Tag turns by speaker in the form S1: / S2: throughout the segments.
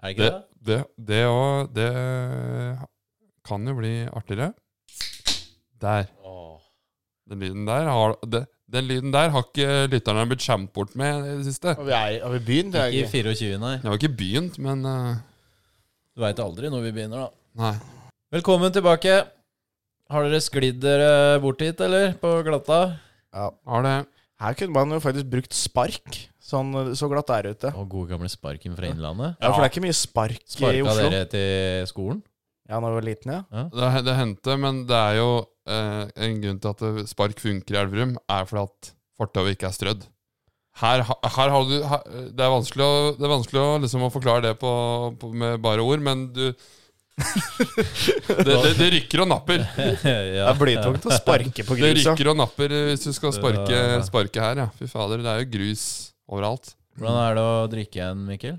S1: Er det ikke
S2: Det,
S1: det?
S2: det, det, og, det kan jo bli artigere. Der.
S1: Åh.
S2: Den lyden der har, det, den lyden der har ikke lytterne blitt skjemt bort med i det siste.
S3: Har vi, er, har vi begynt? Det er
S1: Ikke i
S3: ikke-
S1: 24, nei.
S2: Jeg har ikke begynt, men eh,
S1: Du veit aldri når vi begynner, da.
S2: Nei.
S1: Velkommen tilbake. Har dere sklidd dere bort hit, eller? På glatta?
S3: Ja.
S2: Har det.
S3: Her kunne man jo faktisk brukt spark. Sånn, så glatt er det ute.
S1: Og gode gamle sparken fra Innlandet.
S3: Ja, for det er ikke mye spark i
S1: Sparka
S3: Oslo.
S1: dere til skolen?
S3: Ja, når jeg var liten, ja.
S2: Det, det hendte, men det er jo eh, en grunn til at det- spark funker i Elverum, er fordi at fortauet ikke er strødd. Her, ha- her har du her, Det er vanskelig å, det er vanskelig å, liksom, å forklare det på, på, med bare ord, men du det, det, det rykker og napper.
S3: Det
S1: ja.
S3: er blytungt å sparke på
S2: Det
S3: grusa.
S2: rykker og napper eh, hvis du skal sparke,
S1: Ja.
S2: sparke her, ja. Fy fader, det er jo grus overalt.
S1: Hvordan er det å drikke en, Mikkel?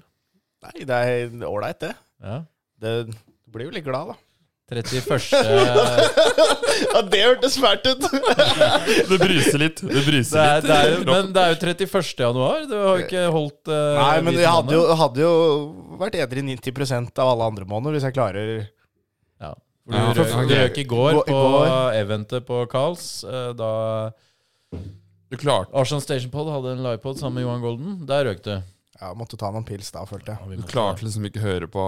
S3: Nei, det er ålreit, det.
S1: Ja.
S3: det. Du blir jo litt glad, da.
S1: eh, 31.
S3: Ja, det hørtes fælt ut!
S2: Det bruser litt. Det bruser
S1: Det er, det er jo, men det er jo 31. januar. Du har jo ikke holdt eh,
S3: Nei, men
S1: hvit
S3: jeg hadde jo,
S1: måned.
S3: hadde jo vært edru i 90 av alle andre måneder, hvis jeg klarer
S1: ja. For
S2: Ja,
S1: Du,
S2: for-
S1: rø- du røk i går
S3: Gå- i
S1: på
S3: går.
S1: eventet på Carls. eh, Da
S2: Du klarte,
S1: Arsenal Station Pod hadde en livepod sammen med Johan Golden. Der røk du.
S3: Ja, måtte ta noen pils da, følte jeg.
S2: du klarte liksom ikke høre på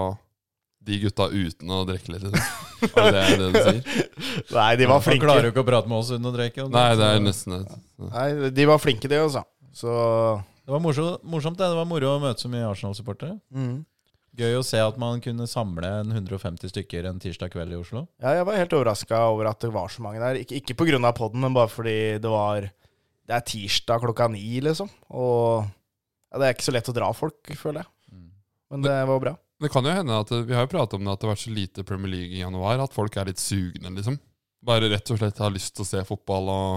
S2: de gutta uten å drikke litt. liksom. Er det det du sier?
S3: Nei, de var
S1: Han klarer
S3: flinke.
S1: jo ikke å prate med oss uten å drikke. og
S2: Nei, det er nesten det.
S3: Nei, de var flinke, de også. Så
S1: Det var morso- morsomt, det. Det var moro å møte så mye Arsenal-supportere.
S3: mm.
S1: Gøy å se at man kunne samle en 150 stykker en tirsdag kveld i Oslo.
S3: Ja, jeg var helt overraska over at det var så mange der. Ikke, ikke pga. poden, men bare fordi det var Det er tirsdag klokka ni, liksom. Og ja, det er ikke så lett å dra folk, føler jeg.
S1: Mm.
S3: Men det var bra.
S2: Det kan jo hende at eh, Vi har jo pratet om det at det har vært så lite Premier League i januar at folk er litt sugne, liksom. Bare rett og slett har lyst til å se fotball og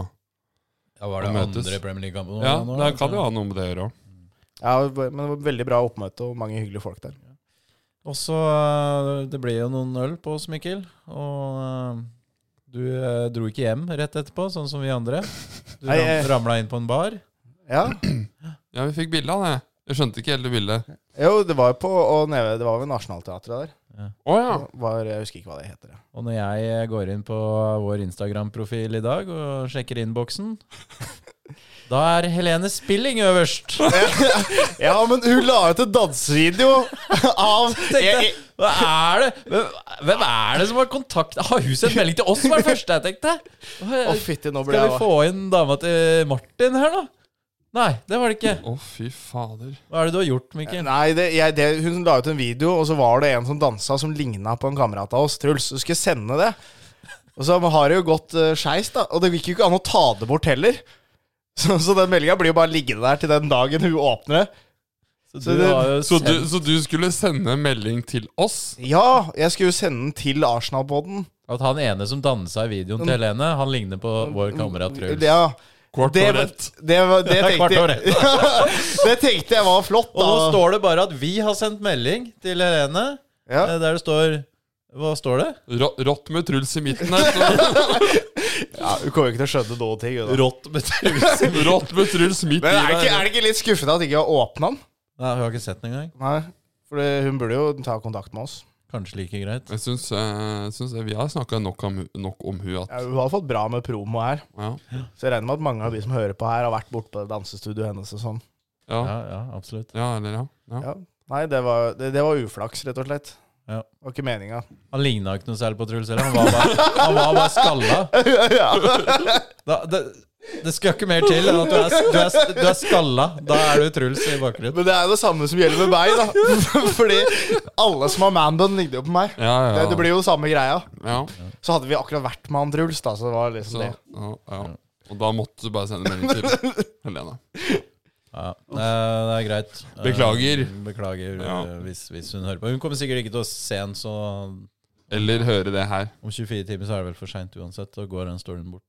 S1: Ja, Var
S2: det
S1: det
S2: andre
S1: andre Premier League-kampen?
S2: Ja, det kan
S1: sånn.
S2: jo ha noe med det å gjøre òg.
S3: Ja, men det var veldig bra oppmøte og mange hyggelige folk der.
S1: Og så eh, Det ble jo noen øl på oss, Mikkel. Og eh, du eh, dro ikke hjem rett etterpå, sånn som vi andre. Du
S3: Nei, jeg-
S1: ramla inn på en bar.
S3: Ja,
S2: Ja, vi fikk bilde av det. Jeg skjønte ikke helt det bildet.
S3: Jo, det var jo på og nede, Det var ved Nationaltheatret der.
S2: Å ja.
S3: Var, jeg husker ikke hva det heter. ja.
S1: Og når jeg eh, går inn på vår Instagram-profil i dag og sjekker innboksen, da er Helene Spilling øverst.
S3: Ja, men hun la ut en dansevideo av
S1: tenkte jeg, hva er det? Hvem, hvem er det som har kontakt Har hun sendt melding til oss, var det første jeg tenkte.
S3: Å, fytti, nå ble
S1: Skal vi
S3: jeg
S1: få inn dama til Martin her, da? Nei, det var det ikke.
S2: Å, fy fader.
S1: Hva er det du har gjort, Mikkel?
S3: Nei, det, jeg, det, hun la ut en video, og så var det en som dansa som ligna på en kamerat av oss. Truls, du skulle sende det. Og så har det jo gått uh, skeis, da. Og det gikk jo ikke an å ta det bort heller. Så, så den meldinga blir jo bare liggende der til den dagen hun åpner det.
S1: Så
S3: så det-
S1: jo
S2: Så du,
S1: sendt
S2: så du skulle sende en melding til oss?
S3: Ja, jeg skulle jo sende den til Arsenal-poden.
S1: At han ene som dansa i videoen til Helene, han ligner på vår kamerat Truls.
S3: Ja.
S2: Kvart
S3: Det,
S2: år
S3: var-
S2: ett.
S3: det, var- det,
S1: Kvart
S3: tenkte,
S1: år
S3: jeg- det tenkte jeg var flott,
S1: Og
S3: da.
S1: nå står det bare at vi har sendt melding til Helene,
S3: Ja.
S1: eh, der det står Hva står det?
S2: Rå- Rått med Truls i midten her.
S3: Ja, Hun kommer jo ikke til å skjønne noen ting. Hun, da.
S1: Rått med truse.
S2: så Rått med Truls midt i
S3: Men er det, ikke,
S2: der.
S3: er det ikke litt skuffende at ikke har åpna den?
S1: Nei, hun har ikke sett den engang.
S3: Nei, for det, hun burde jo ta kontakt med oss.
S1: Kanskje like greit.
S2: Jeg syns, eh, syns jeg- vi har snakka nok, om- nok om hun at
S3: Ja, hun har fått bra med promo her,
S2: ja.
S3: så jeg regner med at mange av de som hører på her, har vært borte på det dansestudioet hennes og sånn.
S2: Ja,
S1: Ja, ja, absolutt.
S2: ja eller ja. ja.
S3: Ja. Nei, det var, det, det var uflaks, rett og slett.
S1: Ja.
S3: Det var ikke meninga.
S1: Han ligna ikke noe særlig på Truls heller. Han var bare, han var bare skalla. Da, det, det skal ikke mer til enn at du er, du er, du er skalla. Da er du Truls i bakgrunnen.
S3: Men det er jo det samme som gjelder med meg, da. Fordi alle som har manbun, ligner jo på meg.
S2: Ja, ja.
S3: Det, det blir jo samme greia.
S2: ja.
S3: Så hadde vi akkurat vært med han Truls, da, så det var
S2: Så,
S3: liksom det.
S2: ja, ja. Og da måtte du bare sende melding til Helene.
S1: Ja, eh, det er greit. Eh,
S2: Beklager.
S1: Beklager
S2: Ja.
S1: eh, hvis, hvis hun hører på. Hun kommer sikkert ikke til å se den, så
S2: Eller høre det her.
S1: om 24 timer så er det vel for seint uansett. Da går den storyen bort.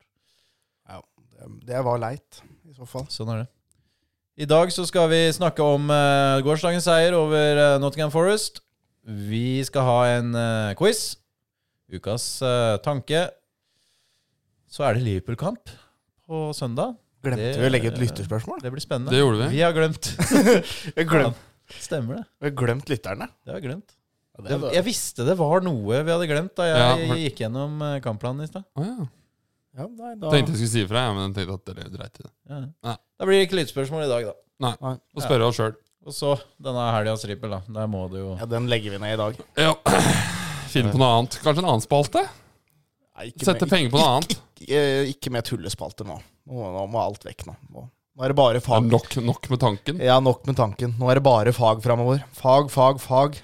S3: Det var leit, i så fall.
S1: Sånn er det. I dag så skal vi snakke om eh, gårsdagens seier over eh, Nottingham Forest. Vi skal ha en eh, quiz. Ukas eh, tanke. Så er det Liverpool-kamp på søndag.
S3: Glemte
S1: Det-
S3: vi å legge ut lytterspørsmål?
S1: Det blir spennende.
S2: Det gjorde vi.
S1: Vi har glemt.
S3: Jeg glemte
S1: Stemmer det.
S3: Vi har glemt lytterne.
S1: Det har jeg glemt.
S3: Ja, det
S1: Jeg,
S3: var-
S1: jeg visste det var noe vi hadde glemt da jeg
S2: Ja, for-
S1: gikk gjennom eh, kampplanen i stad.
S2: Å ja.
S3: ja, nei, da-
S2: Tenkte jeg skulle si ifra, ja, men tenkte at dere dreit i det.
S1: Ja.
S2: Ja.
S1: Da blir det ikke lydspørsmål i dag, da.
S2: Få spørre oss sjøl.
S1: Og så denne helgas trippel, da. Der må du jo
S3: Ja, den legger vi ned i dag.
S2: Ja. Finne på noe annet. Kanskje en annen spalte?
S3: Nei, ikke
S2: Sette
S3: med-
S2: penger på noe annet.
S3: ikke, eh, ikke med tullespalter nå. Nå, nå må alt vekk nå. Nå nå er det bare
S2: Det er
S3: fag.
S2: nok, nok med tanken.
S3: Ja, nok med tanken. Nå er det bare fag framover. Fag, fag, fag.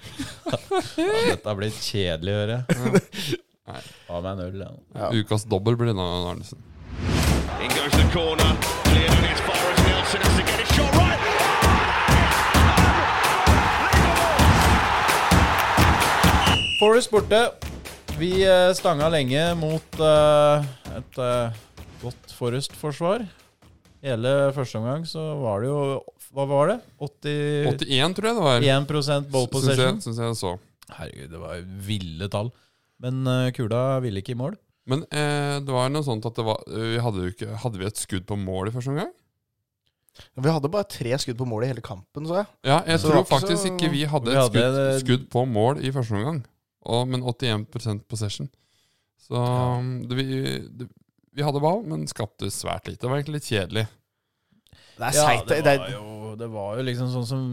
S1: Dette blir kjedelig å gjøre.
S2: Nei.
S1: Av meg en øl, ja.
S3: Ja.
S2: Ukas dobbel blir denne, Arnesen.
S4: In goes the corner, cleared and it's far as Nelson has to get it shot right.
S1: Forest borte. Vi eh, stanga lenge mot eh, et eh, godt Forest-forsvar. Hele første omgang så var det jo Hva var det? 80,
S2: 81, tror jeg det var.
S1: 81 ball
S2: Syns jeg,
S1: possession.
S2: syns jeg så.
S1: Herregud, det var ville tall. Men eh, kula ville ikke i mål.
S2: Men eh, det var noe sånt at det var, eh, vi hadde, jo ikke, hadde vi et skudd på mål i første omgang?
S3: Vi hadde bare tre skudd på mål i hele kampen, så jeg.
S2: Ja, jeg
S3: Så det
S2: tror
S3: var ikke
S2: faktisk
S3: så-
S2: ikke vi hadde
S1: Vi
S2: et
S1: hadde
S2: skudd,
S1: det-
S2: skudd på mål i første omgang. Og, men 81 possession. Så um, det, vi, det, vi hadde ball, men skapte svært lite. Det var egentlig litt kjedelig.
S3: Det er
S1: Ja,
S3: seigt.
S1: det
S3: det er-
S1: var, jo, det var jo liksom sånn som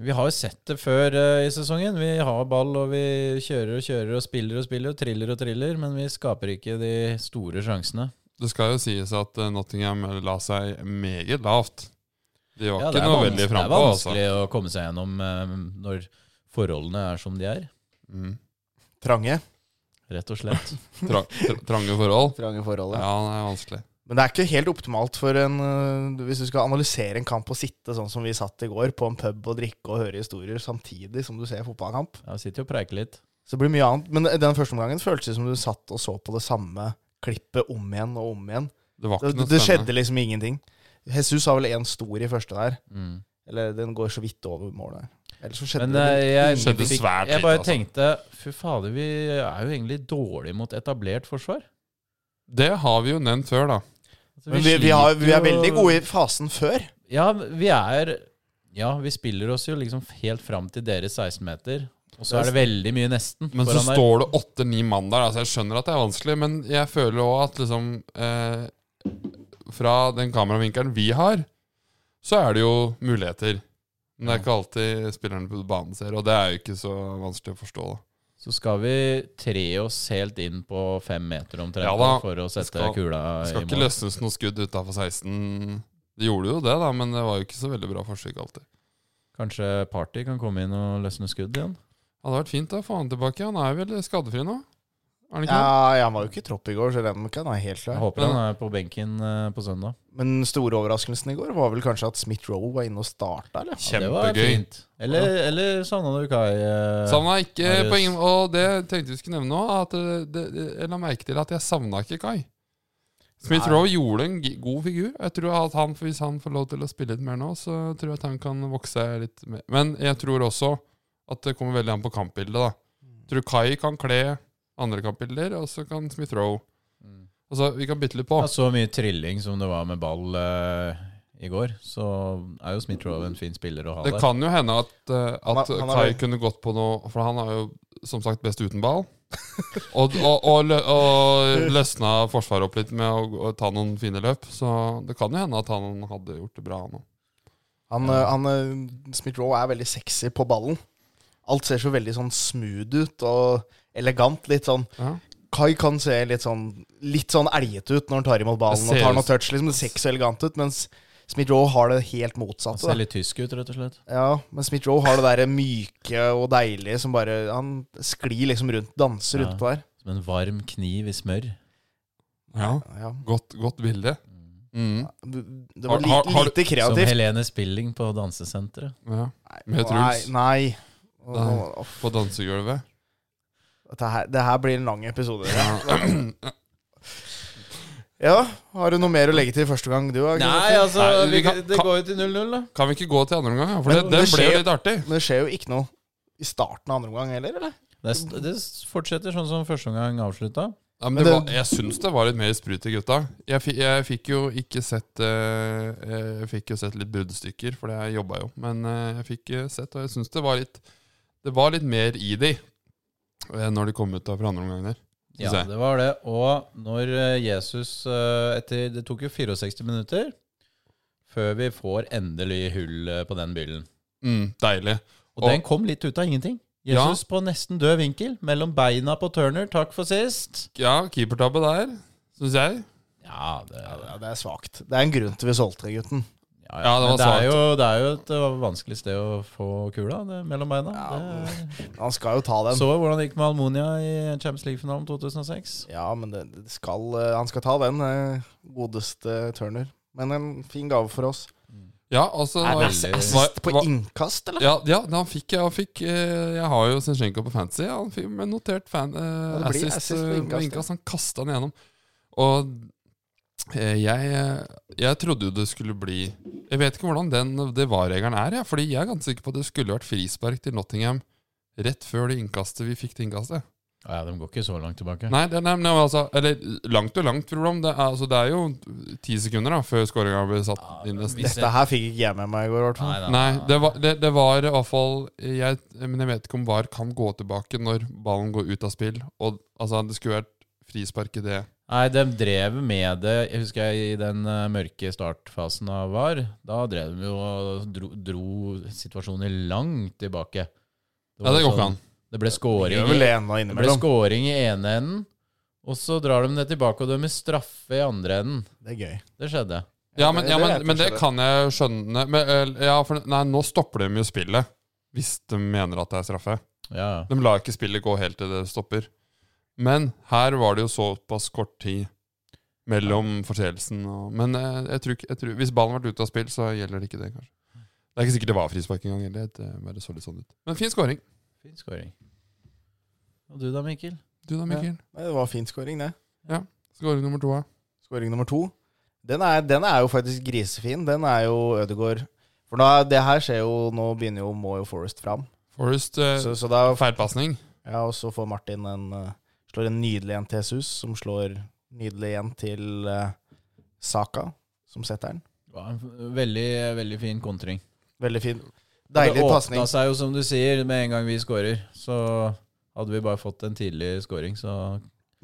S1: Vi har jo sett det før eh, i sesongen. Vi har ball, og vi kjører og kjører og spiller og spiller og triller og triller, men vi skaper ikke de store sjansene.
S2: Det skal jo sies at eh, Nottingham la seg meget lavt. De var
S1: Ja, det,
S2: ikke
S1: er
S2: noe
S1: vans-
S2: veldig
S1: det er
S2: frampå, altså.
S1: vanskelig å komme seg gjennom eh, når forholdene er som de er,
S2: Mm.
S3: Trange.
S1: rett og slett.
S2: Tra, tra, trange forhold.
S3: Trange forhold, ja.
S2: Ja, det er vanskelig.
S3: Men det er ikke helt optimalt for en øh, Hvis du skal analysere en kamp og sitte sånn som vi satt i går, på en pub og drikke og høre historier samtidig som du ser fotballkamp.
S1: Jeg sitter jo og preiker litt.
S3: Så det blir mye annet. Men den første omgangen føltes det som du satt og så på det samme klippet om igjen og om igjen.
S2: Det var
S3: Det,
S2: ikke noe
S3: det, det
S2: spennende.
S3: skjedde liksom ingenting. Jesus har vel én stor i første der.
S1: Mm.
S3: Eller den går så vidt over målet. Ellers så skjedde
S1: Men
S3: det
S1: eh, jeg,
S2: Skjedde svært
S1: jeg bare
S2: lite, altså.
S1: tenkte Fy fader, vi er jo egentlig dårlige mot etablert forsvar.
S2: Det har vi jo nevnt før, da.
S1: Altså,
S3: Men vi, vi, har, vi
S1: sliter
S3: er
S1: jo-
S3: veldig gode i fasen før.
S1: Ja, vi er Ja, vi spiller oss jo liksom helt fram til deres 16-meter. Og så er det veldig mye nesten.
S2: Men så
S1: foran der.
S2: står det åtte-ni mann der. Altså, jeg skjønner at det er vanskelig, men jeg føler òg at liksom eh, Fra den kameravinkelen vi har, så er det jo muligheter. Men det er ikke alltid spillerne på banen ser, og det er jo ikke så vanskelig å forstå. da.
S1: Så skal vi tre oss helt inn på fem meter omtrent
S2: Ja da,
S1: for å sette
S2: skal-
S1: kula
S2: Det skal
S1: i
S2: ikke
S1: mål.
S2: løsnes noe skudd utafor 16. De gjorde jo det, da, men det var jo ikke så veldig bra forsøk alltid.
S1: Kanskje Party kan komme inn og løsne skudd igjen?
S2: Hadde vært fint å få han tilbake. Han er vel skadefri nå? Er han ikke det?
S3: Ja, jeg var jo ikke i tropp i går, så den kan være helt
S1: Jeg
S3: klar.
S1: håper han er på benken eh, på søndag.
S3: Men store overraskelsen i går var vel kanskje at Smith Roe var inne og starta, eller?
S1: Ja, det var
S2: Kjempegøy.
S1: fint. Eller, eller savna du Kai? eh,
S2: Savna ikke
S1: Marius.
S2: på ingen Og det tenkte vi skulle nevne nå. At det, det, jeg la merke til at jeg savna ikke Kai. Smith
S3: Nei.
S2: Rowe gjorde en gi- god figur. Jeg tror at han, Hvis han får lov til å spille litt mer nå, så tror jeg at han kan vokse litt mer. Men jeg tror også at det kommer veldig an på kampbildet. da Jeg tror Kai kan kle andre kampbilder, og så kan Smith Rowe Altså, vi kan bytte litt på.
S1: Mm. Ja, så mye trilling som det var med ball eh, i går, så er jo Smith-Roe en fin spiller å ha
S2: Det
S1: der.
S2: kan jo hende at, eh,
S3: Han
S2: at
S3: er- han er
S2: Kai
S3: vel-
S2: kunne gått på noe For han er jo som sagt best uten ball. og, og, og, lø- og løsna forsvaret opp litt med å, å ta noen fine løp. Så det kan jo hende at han hadde gjort det bra nå.
S3: Han,
S1: Ja.
S3: eh, han, eh, Smith Roe er veldig sexy på ballen. Alt ser så veldig sånn smooth ut og elegant. Litt sånn
S2: Ja.
S3: Kai kan se litt sånn Litt sånn elgete ut når han tar imot ballen
S2: Det
S3: og
S2: ser
S3: tar noe
S2: ut-
S3: touch. Liksom, det ser ikke så elegant ut, mens Smith Roe har det helt
S1: Han
S3: motsatte.
S1: ser
S3: Da.
S1: litt tysk ut, rett og slett.
S3: Ja, men Smith Roe har det derre myke og deilige som bare Han sklir liksom rundt, danser
S1: Ja.
S3: rundt på der.
S1: Som en varm kniv i smør.
S2: ja.
S3: Ja.
S2: Godt, godt bilde. Mm.
S3: Det
S2: Har-
S3: var
S2: har-
S3: lite,
S2: har du-
S3: lite
S1: Som
S3: kreativt.
S1: Helene Spilling på dansesenteret.
S2: Ja.
S3: Nei,
S2: Med Truls.
S3: Nei. Å,
S2: Nei.
S3: å, f-
S2: På dansegulvet.
S3: Dette her, det her blir en lang episode.
S2: Ja.
S3: Ja, har du noe mer å legge til første gang du har?
S1: Nei, altså,
S2: Nei, vi
S1: vi,
S2: kan-
S1: det går jo til 0-0, da.
S2: Kan vi ikke gå til andre omgang? ja? For det,
S3: Men
S2: det
S3: det
S2: ble
S3: skjer-
S2: jo litt artig.
S3: Men det skjer jo ikke noe i starten av andre omgang heller, eller?
S1: Det, er st- det fortsetter sånn som første omgang avslutta.
S2: Ja, men
S3: Men
S2: det
S3: det-
S2: var, jeg syns det var litt mer sprut i gutta. Jeg, fi- jeg fikk jo ikke sett eh, Jeg fikk jo sett litt bruddstykker, for jeg jobba jo. Men eh, jeg fikk eh, sett, og jeg syns det var litt Det var litt mer i de eh, når de kom ut av for andre omgang der.
S1: Ja,
S2: Synes jeg.
S1: det var det. Og når eh, Jesus eh, etter Det tok jo 64 minutter før vi får endelig hull eh, på den byllen.
S2: Mm, deilig.
S1: Og, den kom litt ut av ingenting. Jesus på nesten død vinkel, mellom beina på Turner. Takk for sist.
S2: Ja, keepertabbe der, syns jeg.
S1: Ja, det,
S3: Ja,
S1: ja,
S3: det- det er svakt. Det er en grunn til vi solgte gutten.
S1: ja,
S2: Ja, det
S1: Men
S2: var
S1: det
S2: svakt.
S1: er, jo, det er jo et eh, vanskelig sted å få kula, det, mellom beina. Det,
S3: Han skal jo ta den.
S1: så hvordan det gikk med Almonia i Champions League-finalen 2006.
S3: Ja, men det, det skal, eh, han skal ta den, eh, godeste Turner. Men en fin gave for oss.
S2: Ja, altså
S1: Nei,
S2: var-
S1: men ass- ass-
S2: var-
S3: Sist på
S2: var-
S3: innkast, eller?
S2: ja, ja, han fikk, han fikk eh, Jeg har jo Zinchenko på fancy. Han fikk med notert fan, eh,
S3: det blir
S2: assist,
S3: assist på
S2: eh,
S3: innkast,
S2: på
S3: ja.
S2: innkast. Han kasta den gjennom. Og eh, jeg, eh, jeg trodde jo det skulle bli Jeg vet ikke hvordan den, det var-regelen er, jeg. Fordi jeg er ganske sikker på at det skulle vært frispark til Nottingham rett før det innkastet vi fikk til innkastet.
S1: Ja, de går ikke så langt tilbake.
S2: Nei, det, nei, men altså Eller langt og langt, Problem. Det er, altså, det er jo ti sekunder da før skåringa ble satt inn. nesten.
S1: hvis
S3: Dette her fikk ikke jeg med meg i går, i hvert fall.
S1: Nei, nei,
S2: Nei,
S1: nei.
S2: det var, det, det var i hvert fall jeg, Men jeg vet ikke om VAR kan gå tilbake når ballen går ut av spill. Og altså, Det skulle vært frispark i det.
S1: Nei, de drev med det Jeg husker jeg i den eh, mørke startfasen av VAR. Da drev de jo og dro, dro situasjoner langt tilbake.
S2: Ja, det går ikke
S1: sånn-
S2: an.
S1: Det ble
S3: Gjør
S1: scoring,
S3: vel
S1: i-
S3: det ennå
S1: det ble
S3: innimellom.
S1: scoring i ene enden, og så drar de det tilbake og dømmer straffe i andre enden.
S3: Det er gøy.
S1: Det skjedde.
S2: Ja, men, ja, men,
S3: det vet jeg
S2: men det
S3: selv.
S2: kan jeg skjønne. Men, eh, ja, for, nei, nå stopper de jo spillet. Hvis de mener at det er straffe.
S1: Ja,
S2: De lar ikke spillet gå helt til det stopper. Men her var det jo såpass kort tid mellom forseelsen og Men eh, jeg tror, ikke- jeg tror, hvis ballen vært ute av spill, så gjelder det ikke det, kanskje. Det er ikke sikkert det var frispark engang. heller, Det bare så litt sånn ut. Men fin scoring.
S1: fin scoring. Og du da, Mikkel?
S2: Du da, Mikkel?
S3: Nei, det var fin scoring, det.
S2: Skåring nummer to, ja.
S3: Scoring nummer to. Den er, den er jo faktisk grisefin. Den er jo Ødegaard. For da, det her skjer jo Nå begynner jo, må jo Forest fram.
S2: Forrest eh,
S3: Så, så da
S2: feil pasning.
S3: Ja, og så får Martin en eh, Slår en nydelig en til Jesus, som slår nydelig en til eh, Saka, som setter den.
S1: Ja, en f- veldig, veldig fin kontring.
S3: Veldig fin. Deilig pasning.
S1: Det åpna seg jo, som du sier, med en gang vi scorer. Så hadde vi bare fått en tidlig scoring, så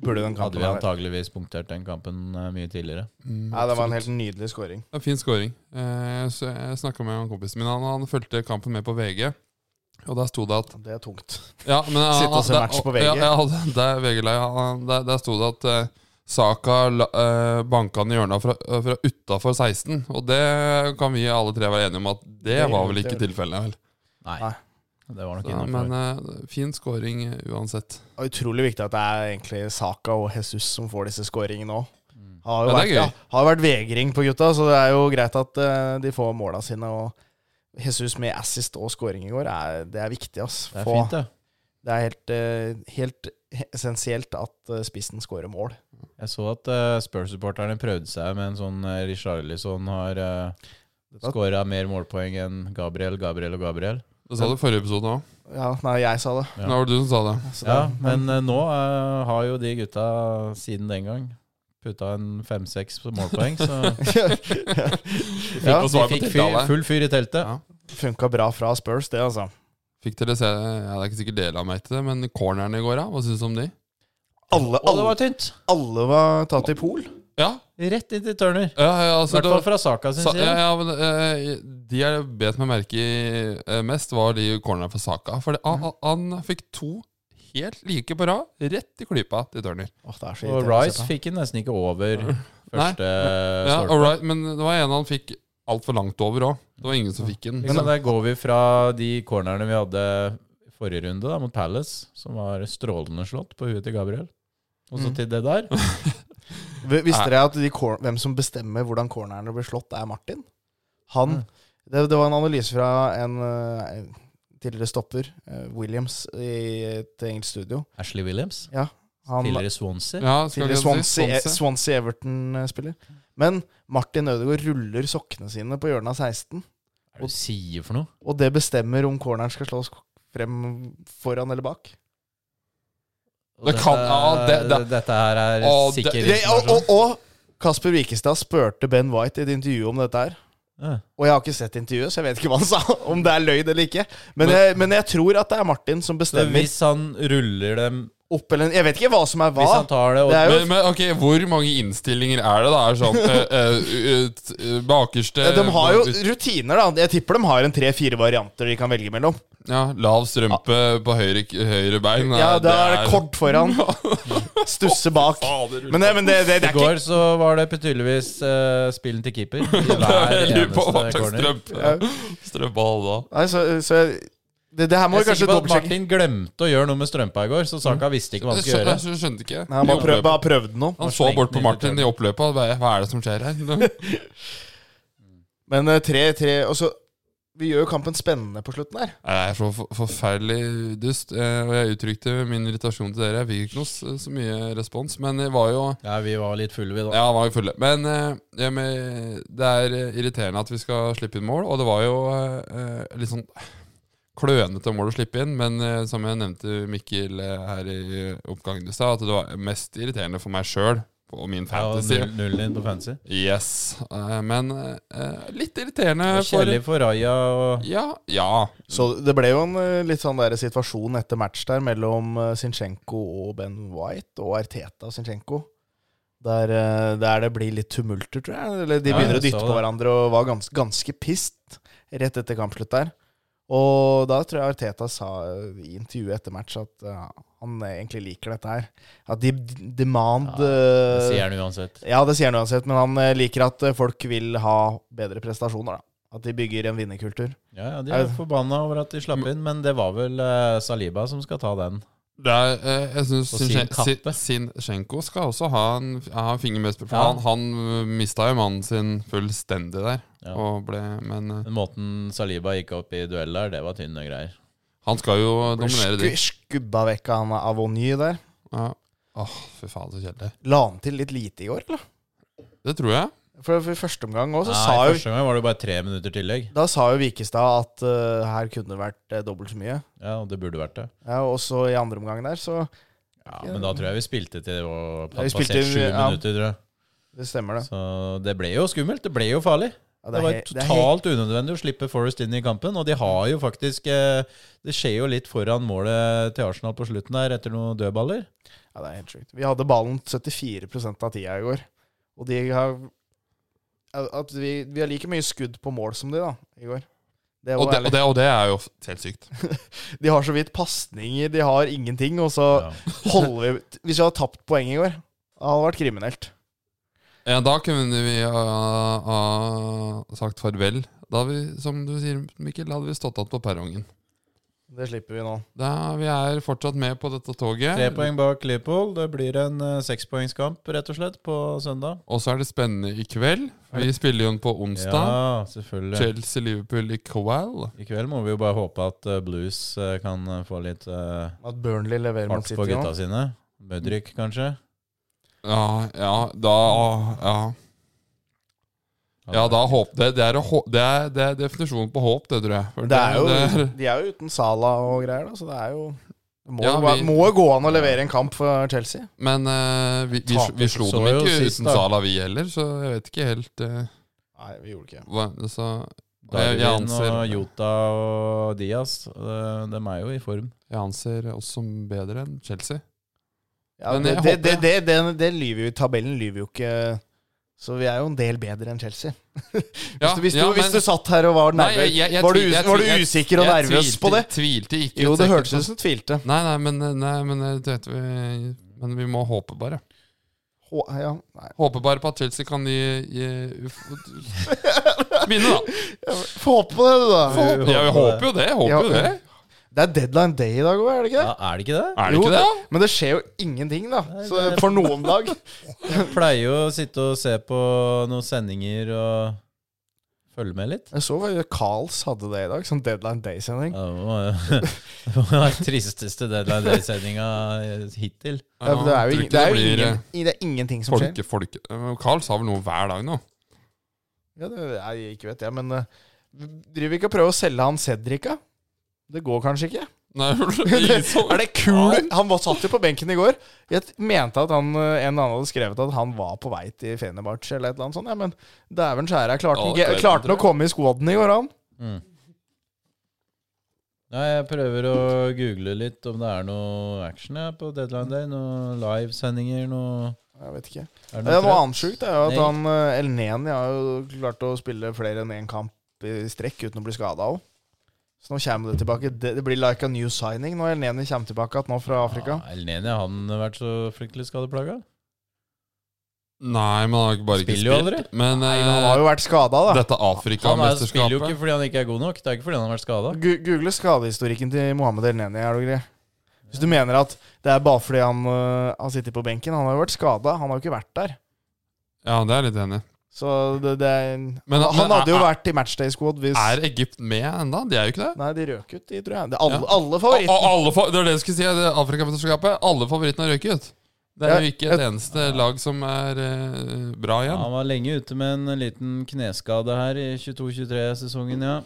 S3: Burde den
S1: Hadde
S3: kampen
S1: vi
S3: ha vært.
S1: antageligvis punktert den kampen eh, mye tidligere.
S2: Mm,
S3: Ja, det var en
S2: absolutt.
S3: helt nydelig scoring.
S2: Det er fin scoring. Eh, så jeg snakka med han kompisen min. Han, han fulgte kampen med på VG. Og der sto det at
S3: Det er tungt.
S2: ja, men, han-
S3: Sitte og se
S2: der-
S3: match på VG.
S2: Ja, ja, det- det er VG-leie. Han- Der, der sto det at eh, Saka la, eh, banka han i hjørnet fra, eh, fra utafor 16. Og det kan vi alle tre være enige om at det
S3: Det-
S2: var vel ikke
S3: det-
S2: tilfellet. vel?
S1: Nei.
S3: Nei.
S1: Det var nok
S2: Så,
S1: innenfor.
S2: men eh, fin scoring eh, uansett.
S3: Og utrolig viktig at det er egentlig Saka og Jesus som får disse scoringene òg.
S1: Mm.
S3: Har jo
S2: Ja, det
S3: vært,
S2: er
S3: ja,
S2: gøy.
S3: har vært vegring på gutta, så det er jo greit at eh, de får måla sine. Og Jesus med assist og scoring i går, er, det er viktig. ass.
S1: Det er
S3: Få-
S1: fint, det.
S3: det er helt, eh, helt essensielt at eh, spissen scorer mål.
S1: Jeg så at eh, Spurs-supporterne prøvde seg med en sånn uh, Richarlison har uh, skåra mer målpoeng enn Gabriel, Gabriel og Gabriel.
S2: Det sa du i forrige episode òg.
S3: Ja, nei, jeg sa det.
S1: Ja.
S2: Nå var det du som sa det.
S3: Så
S1: Ja,
S3: det-
S1: men eh, nå eh, har jo de gutta siden den gang putta en fem-seks målpoeng, så
S3: ja,
S2: Og
S1: de
S2: svar på
S1: fikk fyr,
S2: tiltale.
S1: full fyr i teltet.
S2: Ja.
S3: funka bra fra Spurs, det, altså.
S2: Fikk dere se ja, Det er ikke sikkert dere la meg til det, men cornerne i går, da? Hva syns du om de?
S3: Alle,
S1: Og det
S3: alle,
S1: var tynt!
S3: alle var tatt i pol.
S2: Ja,
S1: Rett inn til Turner.
S2: ja, ja
S1: I
S2: altså
S1: hvert
S2: det,
S1: fall fra Saka sin
S2: sa, ja,
S1: side.
S2: ja, men, eh, De jeg bet meg merke i eh, mest, var de cornerne for Saka. For det, han, han fikk to helt like på rad, rett i klypa til Turner.
S3: Åh, det er så
S1: Og
S3: irriterende å se
S1: Rice
S3: på.
S1: fikk den nesten ikke over
S2: Nei.
S1: første eh,
S2: Ja,
S1: stolpe.
S2: all right, men det var en han fikk altfor langt over òg. Det var ingen som fikk den.
S1: Liksom, der går vi fra de cornerne vi hadde i forrige runde da, mot Palace, som var strålende slått på huet til Gabriel, og så
S3: Mm.
S1: til det der.
S3: Vi- Visste dere at de, cor- hvem som bestemmer hvordan cornerne blir slått, er Martin? Han
S1: Mm.
S3: det, det var en analyse fra en eh, en tidligere stopper, eh, Williams, i et engelsk studio.
S1: Ashley Williams,
S3: Han,
S1: tidligere Swansea.
S2: Ja, skal
S3: Tidligere
S2: vi si
S3: Swansea, eh, Swansea Everton-spiller. Men Martin Ødegaard ruller sokkene sine på hjørnet av
S1: Hva
S3: 16,
S1: er det du sier for noe?
S3: og det bestemmer om corneren skal slås frem foran eller bak.
S1: Og
S2: Det kan- ja, det- det-
S1: Dette her er
S2: Å, det-
S1: sikker
S3: Det, og,
S1: informasjon.
S3: og, og Kasper Wikestad spurte Ben White i et intervju om dette her.
S1: Ja.
S3: Og jeg har ikke sett intervjuet, så jeg vet ikke hva han sa. Om det er løgn eller ikke. Men, jeg, men jeg tror at det er Martin som
S1: Så
S3: bestemmer
S1: hvis han ruller dem
S3: opp eller Jeg vet ikke hva som er hva.
S1: Hvis han tar det og
S3: Det er jo
S2: Men, men ok, hvor mange innstillinger er det? da? Er det sånn eh, eh, ut- eh, Bakerste
S3: De har jo rutiner, da. Jeg tipper de har en tre-fire varianter de kan velge mellom.
S2: ja, Lav strømpe på høyre, høyre bein. Nei,
S3: Ja, Da er det kort foran, stusse bak.
S2: Fader,
S3: Men, det- men det, det, det
S1: I
S3: er ikke
S1: går så var det tydeligvis eh, spillen til keeper i hver
S2: Jeg lurer på hva
S1: eneste
S2: slags
S1: corner.
S2: strømpe Strømpe alle da.
S3: Nei, så, så jeg, det, det her må
S1: Jeg
S3: vi
S1: er
S3: kanskje
S1: sikker på at
S3: dobbeltsjekke.
S1: Martin glemte å gjøre noe med strømpa i går, så Saka visste ikke hva han
S2: Jeg
S1: skulle
S2: skjønte,
S1: gjøre.
S2: jeg skjønte ikke.
S3: Nei, han bare prøvde, bare prøvde noe.
S2: Han så bort på Martin i oppløpet. og bare, Hva er det som skjer her?
S3: Men eh, tre, tre Og så Vi gjør jo kampen spennende på slutten her.
S2: Nei, Jeg er så for- forferdelig dust, eh, og jeg uttrykte min irritasjon til dere. Jeg fikk ikke noe s- så mye respons, men det var jo
S1: Ja, vi var litt fulle, vi da.
S2: Ja, var jo fulle. Men eh, jeg med, det er eh, irriterende at vi skal slippe inn mål, og det var jo eh, litt sånn klønete mål å slippe inn, men eh, som jeg nevnte Mikkel eh, her i oppgangen i stad, at det var mest irriterende for meg sjøl og min
S1: Ja, og
S2: fantasy.
S1: null- Nullen din på fancy.
S2: Yes. Eh, Men eh, litt irriterende for
S1: Kjedelig for Raja og
S2: Ja, ja.
S3: Så det ble jo en eh, litt sånn der situasjon etter match der mellom eh, Zinchenko og Ben White, og Arteta og Zinchenko. Der, eh, der det blir litt tumulter, tror jeg. Eller de
S1: Ja,
S3: begynner å
S1: jeg så
S3: dytte på
S1: det.
S3: hverandre og var ganske, ganske pissed rett etter kampslutt der. Og da tror jeg Arteta sa eh, i intervjuet etter match at eh, han egentlig liker dette her. At de d- demand
S1: Ja, Det
S3: eh,
S1: sier han uansett.
S3: Ja, det sier han uansett, men han eh, liker at eh, folk vil ha bedre prestasjoner, da. At de bygger en vinnerkultur.
S1: Ja, ja, De er forbanna over at de slapp inn, men det var vel eh, Saliba som skal ta den.
S2: Det er, eh, jeg synes
S1: Og sin
S2: Sinchen-
S1: kappe.
S2: Sin- Sinchenko skal også ha en, ha en finger med i spillet, for
S1: Ja.
S2: han, han mista jo mannen sin fullstendig der.
S1: Ja.
S2: Og ble, men eh,
S1: Den måten Saliba gikk opp i duell der, det var tynne greier.
S2: han skal jo dominere
S3: Sku,
S2: de.
S3: skubba vekk av han Avony der.
S2: Ja. Åh, fy faen, så kjedelig.
S3: La han til litt lite i går, eller?
S2: Det tror jeg.
S3: For, for første omgang òg, så
S1: Nei,
S3: sa jo
S1: første gang var det bare tre minutter tillegg.
S3: Da sa jo Vikestad at eh, her kunne det vært eh, dobbelt så mye.
S1: Ja, og det burde vært det.
S3: Ja, og så i andre omgang der, så
S1: Ja, Men da tror jeg vi spilte til det var
S3: Ja, vi spilte-
S1: passert sju
S3: ja.
S1: minutter, tror jeg.
S3: Det stemmer, det.
S1: Så det ble jo skummelt. Det ble jo farlig.
S3: Ja,
S1: Det
S3: er
S1: var
S3: he- det er he-
S1: totalt unødvendig å slippe Forest inn i kampen. Og de har jo faktisk eh, Det skjer jo litt foran målet til Arsenal på slutten der, etter noen dødballer.
S3: Ja, det er helt sjukt. Vi hadde ballen 74 av tida i går. Og de har At vi, vi har like mye skudd på mål som de, da, i går. Det er jo
S2: Og det,
S3: ærlig.
S2: og, det, og det er jo helt sykt.
S3: De har så vidt pasninger, de har ingenting, og så
S1: Ja.
S3: holder vi Hvis vi hadde tapt poeng i går, det hadde vært kriminelt.
S2: Ja, da kunne vi eh, ha ha sagt farvel. Da vi, som du sier, Mikkel, hadde vi stått igjen på perrongen.
S3: Det slipper vi nå.
S2: Da, vi er fortsatt med på dette toget.
S1: Tre poeng bak Liverpool. Det blir en eh, sekspoengskamp, rett og slett, på søndag.
S2: Og så er det spennende i kveld. Vi spiller jo den på onsdag.
S1: Ja, selvfølgelig.
S2: Chelsea-Liverpool i kveld.
S1: I kveld må vi jo bare håpe at eh, Blues eh, kan eh, få litt eh,
S3: At Burnley leverer mot
S1: fart
S3: City
S1: på
S3: nå.
S1: gutta sine. Mudrik, kanskje.
S2: Ja, ja, da Ja, ja da håp det, det, er å hå- det, er, det er definisjonen på håp, det, tror jeg. For
S3: Det er jo,
S2: det er-
S3: de er jo uten Sala og greier, da, så det er jo det må,
S2: Ja,
S3: jo bare-
S2: vi-
S3: må jo gå an å levere en kamp for Chelsea.
S2: men eh, vi, vi,
S3: Taper
S2: vi slo
S1: så
S2: dem
S1: jo
S2: ikke
S1: sist,
S2: uten
S1: da.
S2: Sala, vi heller, så jeg vet ikke helt eh,
S3: Nei, vi gjorde ikke det.
S2: hva altså, Så jeg, jeg,
S1: Darwin
S2: anser,
S1: og Jota og Diaz, eh, dem er jo i form.
S2: jeg anser oss som bedre enn Chelsea.
S3: Ja,
S2: Men
S3: det,
S2: jeg
S3: det,
S2: håper-
S3: det, det, det, det lyver jo, tabellen lyver jo ikke Så vi er jo en del bedre enn Chelsea. Hvis, du, hvis, du, hvis du satt her og var nervøs, var, du, us- var du usikker og nervøs på det?
S2: Tvilte ikke.
S3: Jo,
S2: et
S3: det
S2: sekund
S3: hørtes ut som du tvilte.
S2: Nei, nei, men, nei, men, eh, det vet vi, men vi må håpe, bare.
S3: Hå- Ja, nei.
S2: Håper bare på at Chelsea kan gi, gi Vinne, da.
S3: Få håpe på det, du, da.
S1: Få-
S2: Ja, vi håper jo det. Håper jo
S3: Ja.
S2: det.
S3: Det er deadline day i dag òg, er det ikke det?
S1: Ja, er det ikke det?
S2: Er det ikke det?
S3: Men det skjer jo ingenting, da.
S1: Nei,
S3: Så
S1: det-
S3: for noen lag.
S1: Jeg pleier jo å sitte og se på noen sendinger og følge med litt.
S3: Jeg så hva Carls hadde det i dag, som deadline day-sending.
S1: Ja, Det var det var den tristeste Deadline Day-sendinga hittil.
S3: Ja, for det er jo,
S2: tror
S3: ing-
S2: ikke
S3: det er jo
S2: blir,
S3: ingen,
S2: eh,
S3: i- det er ingenting som skjer.
S2: Folke, folke. Men Carl sa vel noe hver dag nå?
S3: Ja, det er, jeg ikke vet jeg, men eh, vi driver ikke og prøver å selge han Cedric, da? Det går kanskje ikke?
S2: Nei, ingen som-
S3: er det kul? Han var, satt jo på benken i går. Jeg mente at han, eh, en annen hadde skrevet at han var på vei til Fenerbahçe eller et eller annet sånt. Ja, men dæven skjære, klarte han
S2: Ja,
S3: ikke- klarte han å komme i squaden i går, han?
S1: Ja, Mm. jeg prøver å google litt om det er noe action jeg, på Deadline Day. Noen livesendinger, noe
S3: Jeg vet ikke.
S1: Er
S3: Det er noe
S1: trøtt?
S3: annet sjukt er jo at
S1: Nei.
S3: han eh, El Neni har jo klart å spille flere enn én kamp i strekk uten å bli skada òg. Så nå kommer det tilbake. Det, det blir like a new signing når El Neni kommer tilbake igjen nå fra Afrika.
S1: Ja, El Neni, har han vært så fryktelig skadeplaga?
S2: Nei, men han har ikke bare ikke
S1: Spiller jo
S2: spilt.
S1: aldri.
S2: Men
S3: Nei, men han har
S2: eh,
S3: jo vært skada, da.
S1: Han er,
S2: dette
S1: spiller jo
S2: Afrikamesterskapet
S1: ikke fordi han ikke er god nok. Det er ikke fordi han har vært skada.
S3: Gu Google skadehistorikken til Mohammed El Neni, er du grei? Hvis du mener at det er bare fordi han eh, har sittet på benken Han har jo vært skada, han har jo ikke vært der.
S2: Ja, det er jeg litt enig i.
S3: Så det, det er Han,
S2: Men- men-
S3: han hadde jo vært i matchday squad hvis
S2: Er Egypt med enda? De er jo ikke det.
S3: Nei, de røk ut, de, tror jeg. Det er alle,
S2: Ja.
S3: alle
S2: Og,
S3: favoritter.
S2: og alle, fa- det er det jeg skulle si, det er Afrikamesterskapet. Alle favorittene har røyket ut. Det er
S3: Ja,
S2: jo ikke
S3: jeg-
S2: et eneste lag som er eh, bra
S1: Ja,
S2: igjen.
S1: han var lenge ute med en liten kneskade her i 22-23-sesongen, ja.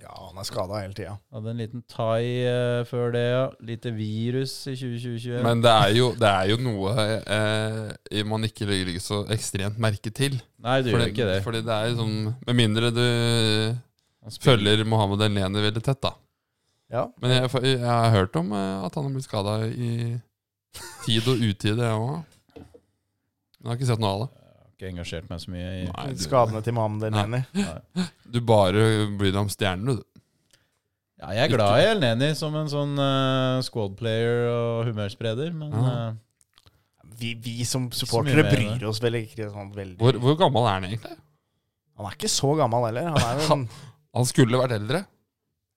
S3: Ja, han er skada hele tida.
S1: Hadde en liten thai eh, før det, ja. Lite virus i 2020.
S2: Men det er jo, det er jo noe eh, man ikke legger så ekstremt merke til.
S1: Nei, du gjør
S2: Fordi,
S1: ikke det.
S2: fordi det er jo sånn Med mindre du
S1: Han spiller-
S2: følger Mohammed El-Neni veldig tett, da.
S3: Ja.
S2: Men jeg, jeg har hørt om eh, at han har blitt skada i tid og utide, jeg òg. Jeg har ikke sett noe av det.
S1: Har ikke engasjert meg så mye i
S2: Nei, du,
S3: Skadene til Mohammed El
S2: Nei.
S3: Neni.
S2: du bare bryr deg om stjernene, du.
S1: Ja, jeg er glad i El Neni som en sånn eh, squad player og humørspreder, men
S2: Ja.
S1: eh,
S3: Vi, vi som
S1: mye mer,
S3: supportere
S2: eh.
S3: bryr oss vel ikke sånn veldig
S2: Hvor, hvor gammel er han egentlig?
S3: Han er ikke så gammel heller. Han er jo en,
S2: Han skulle vært eldre.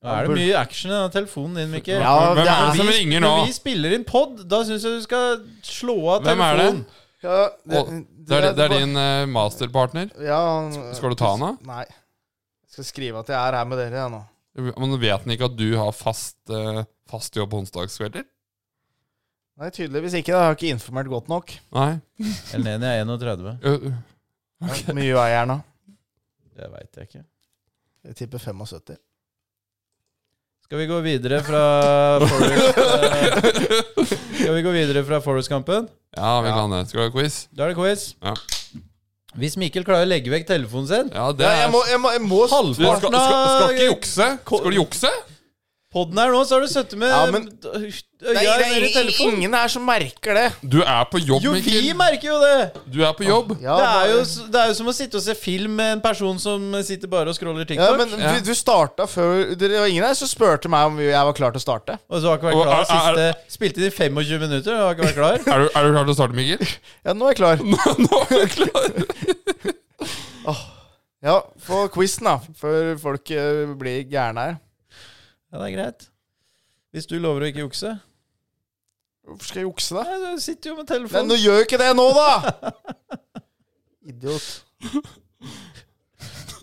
S1: Da er det mye action i den telefonen din, Mikkel.
S3: Ja,
S2: Hvem
S3: det
S2: er det
S3: er-
S2: som ringer nå?
S1: Når vi spiller inn pod, da syns jeg du skal slå av
S2: Hvem er det?
S1: telefonen.
S3: ja,
S2: Og Det er, det er din eh, masterpartner.
S3: ja, han-
S2: Skal du ta han av?
S3: Nei. Jeg skal skrive at jeg er her med dere, jeg nå.
S2: Men vet han ikke at du har fast, eh, fast jobb onsdagskvelder?
S3: Nei, tydeligvis ikke. da. Jeg har ikke informert godt nok.
S2: Nei.
S1: El Neni er 31.
S2: Ø, ø.
S3: Hvor mye er jeg nå?
S1: Det veit jeg ikke.
S3: Jeg tipper 75.
S1: Skal vi gå videre fra Forest eh, Skal vi gå videre fra Forest-kampen?
S2: Ja, vi
S3: Ja.
S2: kan det. Skal du ha quiz?
S1: Da er det quiz.
S2: Ja.
S1: Hvis Mikkel klarer å legge vekk telefonen sin
S2: Ja, det
S3: Ja,
S2: er
S3: jeg må, jeg må, jeg må
S2: du, skal, skal, skal ikke jukse!
S1: Ko-
S2: Skal du jukse?
S1: Podden her nå, så har du sittet med
S3: Ja, men-
S1: øya
S3: Nei, det
S1: nede i
S3: er
S1: telefonen.
S3: ingen her som merker det.
S2: Du er på jobb,
S1: Jo, vi
S2: Mikkel.
S1: merker jo det!
S2: Du er på jobb.
S3: Ja,
S1: Det er, jo,
S3: bare-
S1: det er jo som å sitte og se film med en person som sitter bare og scroller TikTok.
S3: ja, men
S2: Ja.
S3: Du, du starta før Det var ingen her som spurte meg om jeg var klar til å starte.
S1: Og så har ikke vært
S2: Og
S1: klar
S2: er- er-
S1: siste Spilte inn i 25 minutter og har ikke vært klar.
S2: Er du, er du klar til å starte, Mikkel?
S3: Ja, nå er jeg klar.
S2: Nå, nå er du klar.
S3: Ja, få quizen, da. Før folk eh, blir gærne her.
S1: Ja, det er greit. Hvis du lover å ikke jukse
S3: Hvorfor skal jeg jukse, da?
S1: Nei, du sitter jo med
S3: Nei,
S1: telefonen.
S3: nå gjør jo ikke det nå, da! Idiot.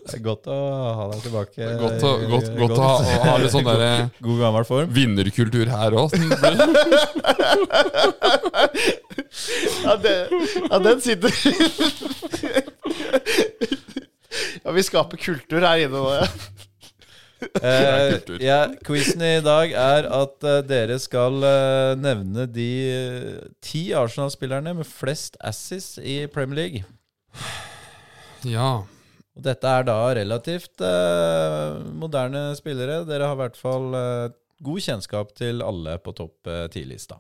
S1: Det er godt å ha deg tilbake.
S2: Godt, å, godt, godt å ha, å ha litt sånn der eh,
S1: God gammel form.
S2: vinnerkultur her òg.
S3: Ja, det, ja den sitter Ja, vi skaper kultur her inne nå, ja.
S1: Eh,
S2: kultur.
S1: ja, quizen i dag er at eh, dere skal eh, nevne de eh, ti Arsenal-spillerne med flest assis i Premier League.
S2: Ja.
S1: Og dette er da relativt eh, moderne spillere. Dere har i hvert fall eh, god kjennskap til alle på topp eh, ti-lista.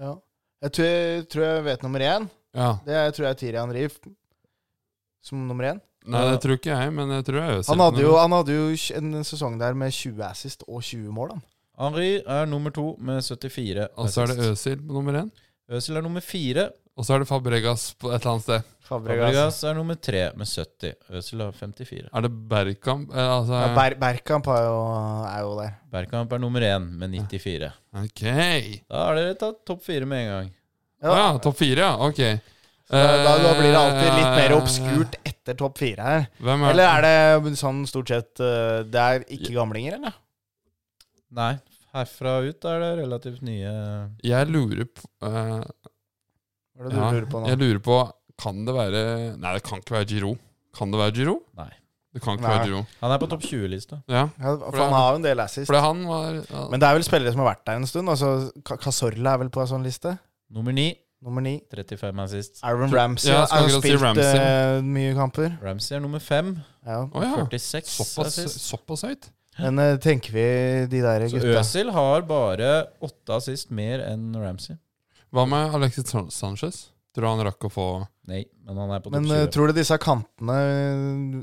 S3: ja. Jeg tror, tror jeg vet nummer én.
S2: ja.
S3: Det er, tror jeg er Tirian Rief som nummer én.
S2: Nei, det tror ikke jeg, men jeg tror jeg øser.
S3: Han hadde jo, han hadde jo en sesong der med 20 assist og 20 mål, han.
S1: Henry er nummer to med 74.
S2: Og så er det
S1: assist.
S2: Øsil på nummer én.
S1: Øzil er nummer fire.
S2: Og så er det Fabregas på et eller annet sted.
S3: Fabregas.
S1: Fabregas er nummer tre med 70. Øzil har 54.
S2: Er det Bergkamp? Eh, altså,
S3: Ja, Ber Berkamp er jo, er jo der.
S1: Bergkamp er nummer én med 94.
S2: ok.
S1: Da har dere tatt topp fire med en gang.
S2: Ja, ja topp fire, ja. Ok.
S3: Da, da blir det alltid litt mer
S2: Eh,
S3: obskurt etter topp fire her.
S2: Hvem er
S3: Eller er det sånn stort sett eh, Det er ikke gamlinger, eller?
S1: Nei, herfra ut er det relativt nye
S2: Jeg lurer på eh,
S3: Hva er det du
S2: ja,
S3: lurer på nå?
S2: Jeg lurer på Kan det være Nei, det kan ikke være Giro. Kan det være Giro?
S1: Nei.
S2: Det kan ikke
S3: Nei.
S2: være Duro.
S1: Han er på topp 20-lista.
S2: Ja,
S3: Ja, for
S2: det-
S3: han har jo en del assist.
S2: for det han var ja.
S3: Men det er vel spillere som har vært der en stund. Altså, Ka- Cazorla er vel på en sånn liste.
S1: Nummer 9.
S3: Nummer ni.
S1: 35 assist.
S3: Aaron Ramsey
S2: Ja, jeg
S3: har
S2: skulle
S3: jo
S2: akkurat si
S3: spilt
S2: Ramsey.
S3: eh, mye kamper.
S1: Ramsey er nummer 5.
S3: Ja.
S2: Å ja.
S1: 46
S2: Såpass,
S1: assist.
S2: såpass høyt?
S3: Men eh, tenker vi de der
S1: Så
S3: gutta
S1: Øsil har bare åtte assist mer enn Ramsey.
S2: Hva med Alexis San- Sanchez? Tror du han rakk å få
S1: Nei, men han er på
S3: Men
S1: topp
S3: eh,
S1: 20.
S3: tror du disse kantene,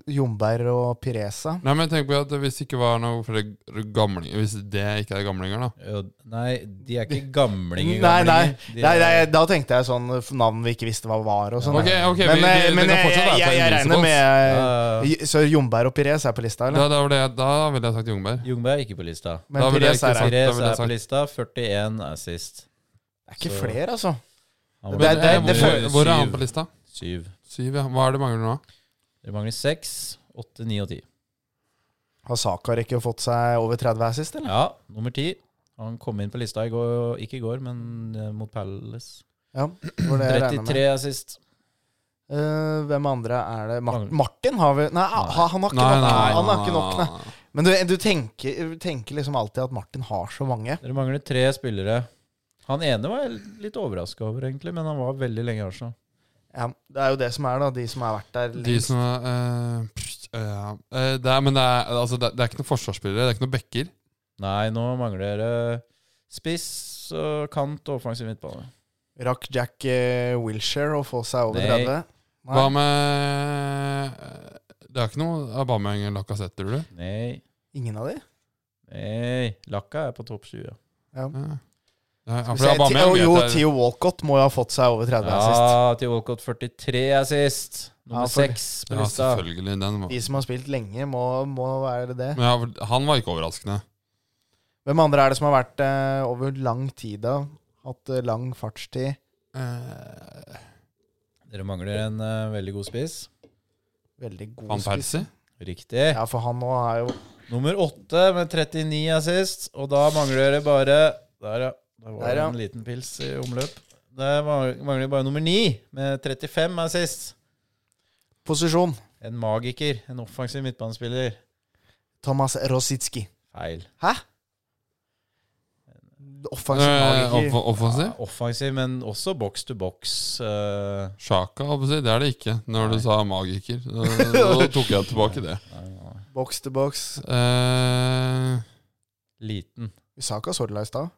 S3: eh, Jomberg og Piresa
S2: Nei, men tenk på at Hvis det ikke var noe flere gamlinger Hvis det ikke er gamlinger, da.
S1: Ø, Nei, de er ikke gamlinger.
S3: Nei, nei.
S1: gamlinger. De
S3: Nei,
S1: er-
S3: nei, da tenkte jeg sånn eh, navn vi ikke visste hva var og sånn.
S2: Ok, ok,
S3: Men,
S2: vi,
S3: eh,
S2: vi,
S3: men
S2: det kan
S3: jeg,
S2: fortsatt
S3: jeg,
S2: være på
S3: jeg, regner
S2: Invincibles.
S3: med eh,
S1: Ja,
S3: Så Jomberg og Pires er på
S2: Da,
S3: lista, eller?
S2: da, var det, da ville jeg sagt Jungberg.
S1: Jungberg er ikke på lista.
S2: da
S3: Men
S2: ville jeg
S3: Pires
S2: ikke
S3: er,
S2: sagt-
S3: det
S2: da
S1: Pires
S2: ville
S1: er
S2: jeg
S1: på
S2: sagt-
S1: lista. 41 assist.
S3: er ikke
S1: så-
S3: flere, altså.
S1: Han
S3: Det
S1: var
S3: er- det er-
S2: Men,
S3: det
S2: eh,
S3: føles-
S2: hvor, hvor er han på lista?
S1: syv.
S2: Syv, ja. Hva er det mangler nå?
S1: Det mangler seks, åtte, ni og ti.
S3: Har Sakar ikke fått seg over 30 assist, eller?
S1: Ja, nummer ti. Han kom inn på lista i går, ikke i går, men eh, mot Palace.
S3: Ja, det var det jeg regner med.
S1: 33 assist.
S3: Eh, hvem andre er det? Mar
S1: Mangler-
S3: Martin har vel Nei,
S1: Nei.
S3: ha- han har ikke
S2: Nei,
S3: nok.
S2: nei,
S3: Han har
S2: nei,
S3: ikke nok, nei.
S2: nei, nei.
S3: Men du, du tenker, du tenker liksom alltid at Martin har så mange.
S1: Dere mangler tre spillere. Han ene var jeg litt overraska over, egentlig, men han var veldig lenge i Arsenal.
S3: Ja, det er jo det som er, da. De som har vært der
S2: De
S3: lengst.
S2: som er eh, pst, ja. Eh, det er, Men det er, altså, det, er, det er ikke noen forsvarsspillere, det er ikke noen backer.
S1: Nei, nå mangler det spiss og kant og offensiv midtbane.
S3: Rakk Jack eh, Wilshere å få seg over
S1: Nei.
S3: 30? Nei.
S2: Hva med eh, Det er ikke noe Aubameyang eller Lacassette, tror du?
S1: Nei,
S3: Ingen av de?
S1: nei. Lakka er på topp 20.
S3: Ja.
S2: Ja. Eh, Ja,
S3: Skal
S2: for
S3: vi se, Ti-
S2: Aubameyang
S3: jo,
S2: vet
S3: jo,
S2: jeg-
S3: Theo Walcott må jo ha fått seg over 30 assist.
S1: Ja, til Walcott 43 assist.
S3: Ja,
S1: Nummer
S3: for-
S1: seks på
S2: Ja,
S1: lista.
S2: selvfølgelig. Den var.
S3: De som har spilt lenge, må, må være det.
S2: Men ja, for han var ikke overraskende.
S3: Hvem andre er det som har vært eh, over lang tid, da? Hatt eh, lang fartstid?
S2: Eh,
S1: Dere mangler en eh, veldig god spiss.
S3: Veldig god
S2: Van
S3: spiss.
S2: Persie?
S1: Riktig.
S3: Ja, for han nå er jo
S1: Nummer åtte med 39 assist, og da mangler det bare Der, ja. Der var
S3: Der,
S1: det
S3: ja.
S1: en liten pils i omløp. Der mang- mangler det bare nummer ni med 35 assist.
S3: posisjon.
S1: En magiker. En offensiv midtbanespiller.
S3: Thomas Rosicki.
S1: Feil.
S3: Offensiv
S2: Eh,
S3: magiker.
S2: off- offensiv?
S1: Ja, offensiv, men også box to box. eh,
S2: Sjaka, holdt jeg på å si. Det er det ikke, når du
S1: Nei.
S2: sa magiker. Da tok jeg tilbake det.
S1: nei, nei.
S3: Box to box.
S2: Eh,
S1: liten.
S3: Usaka Sorla i stad.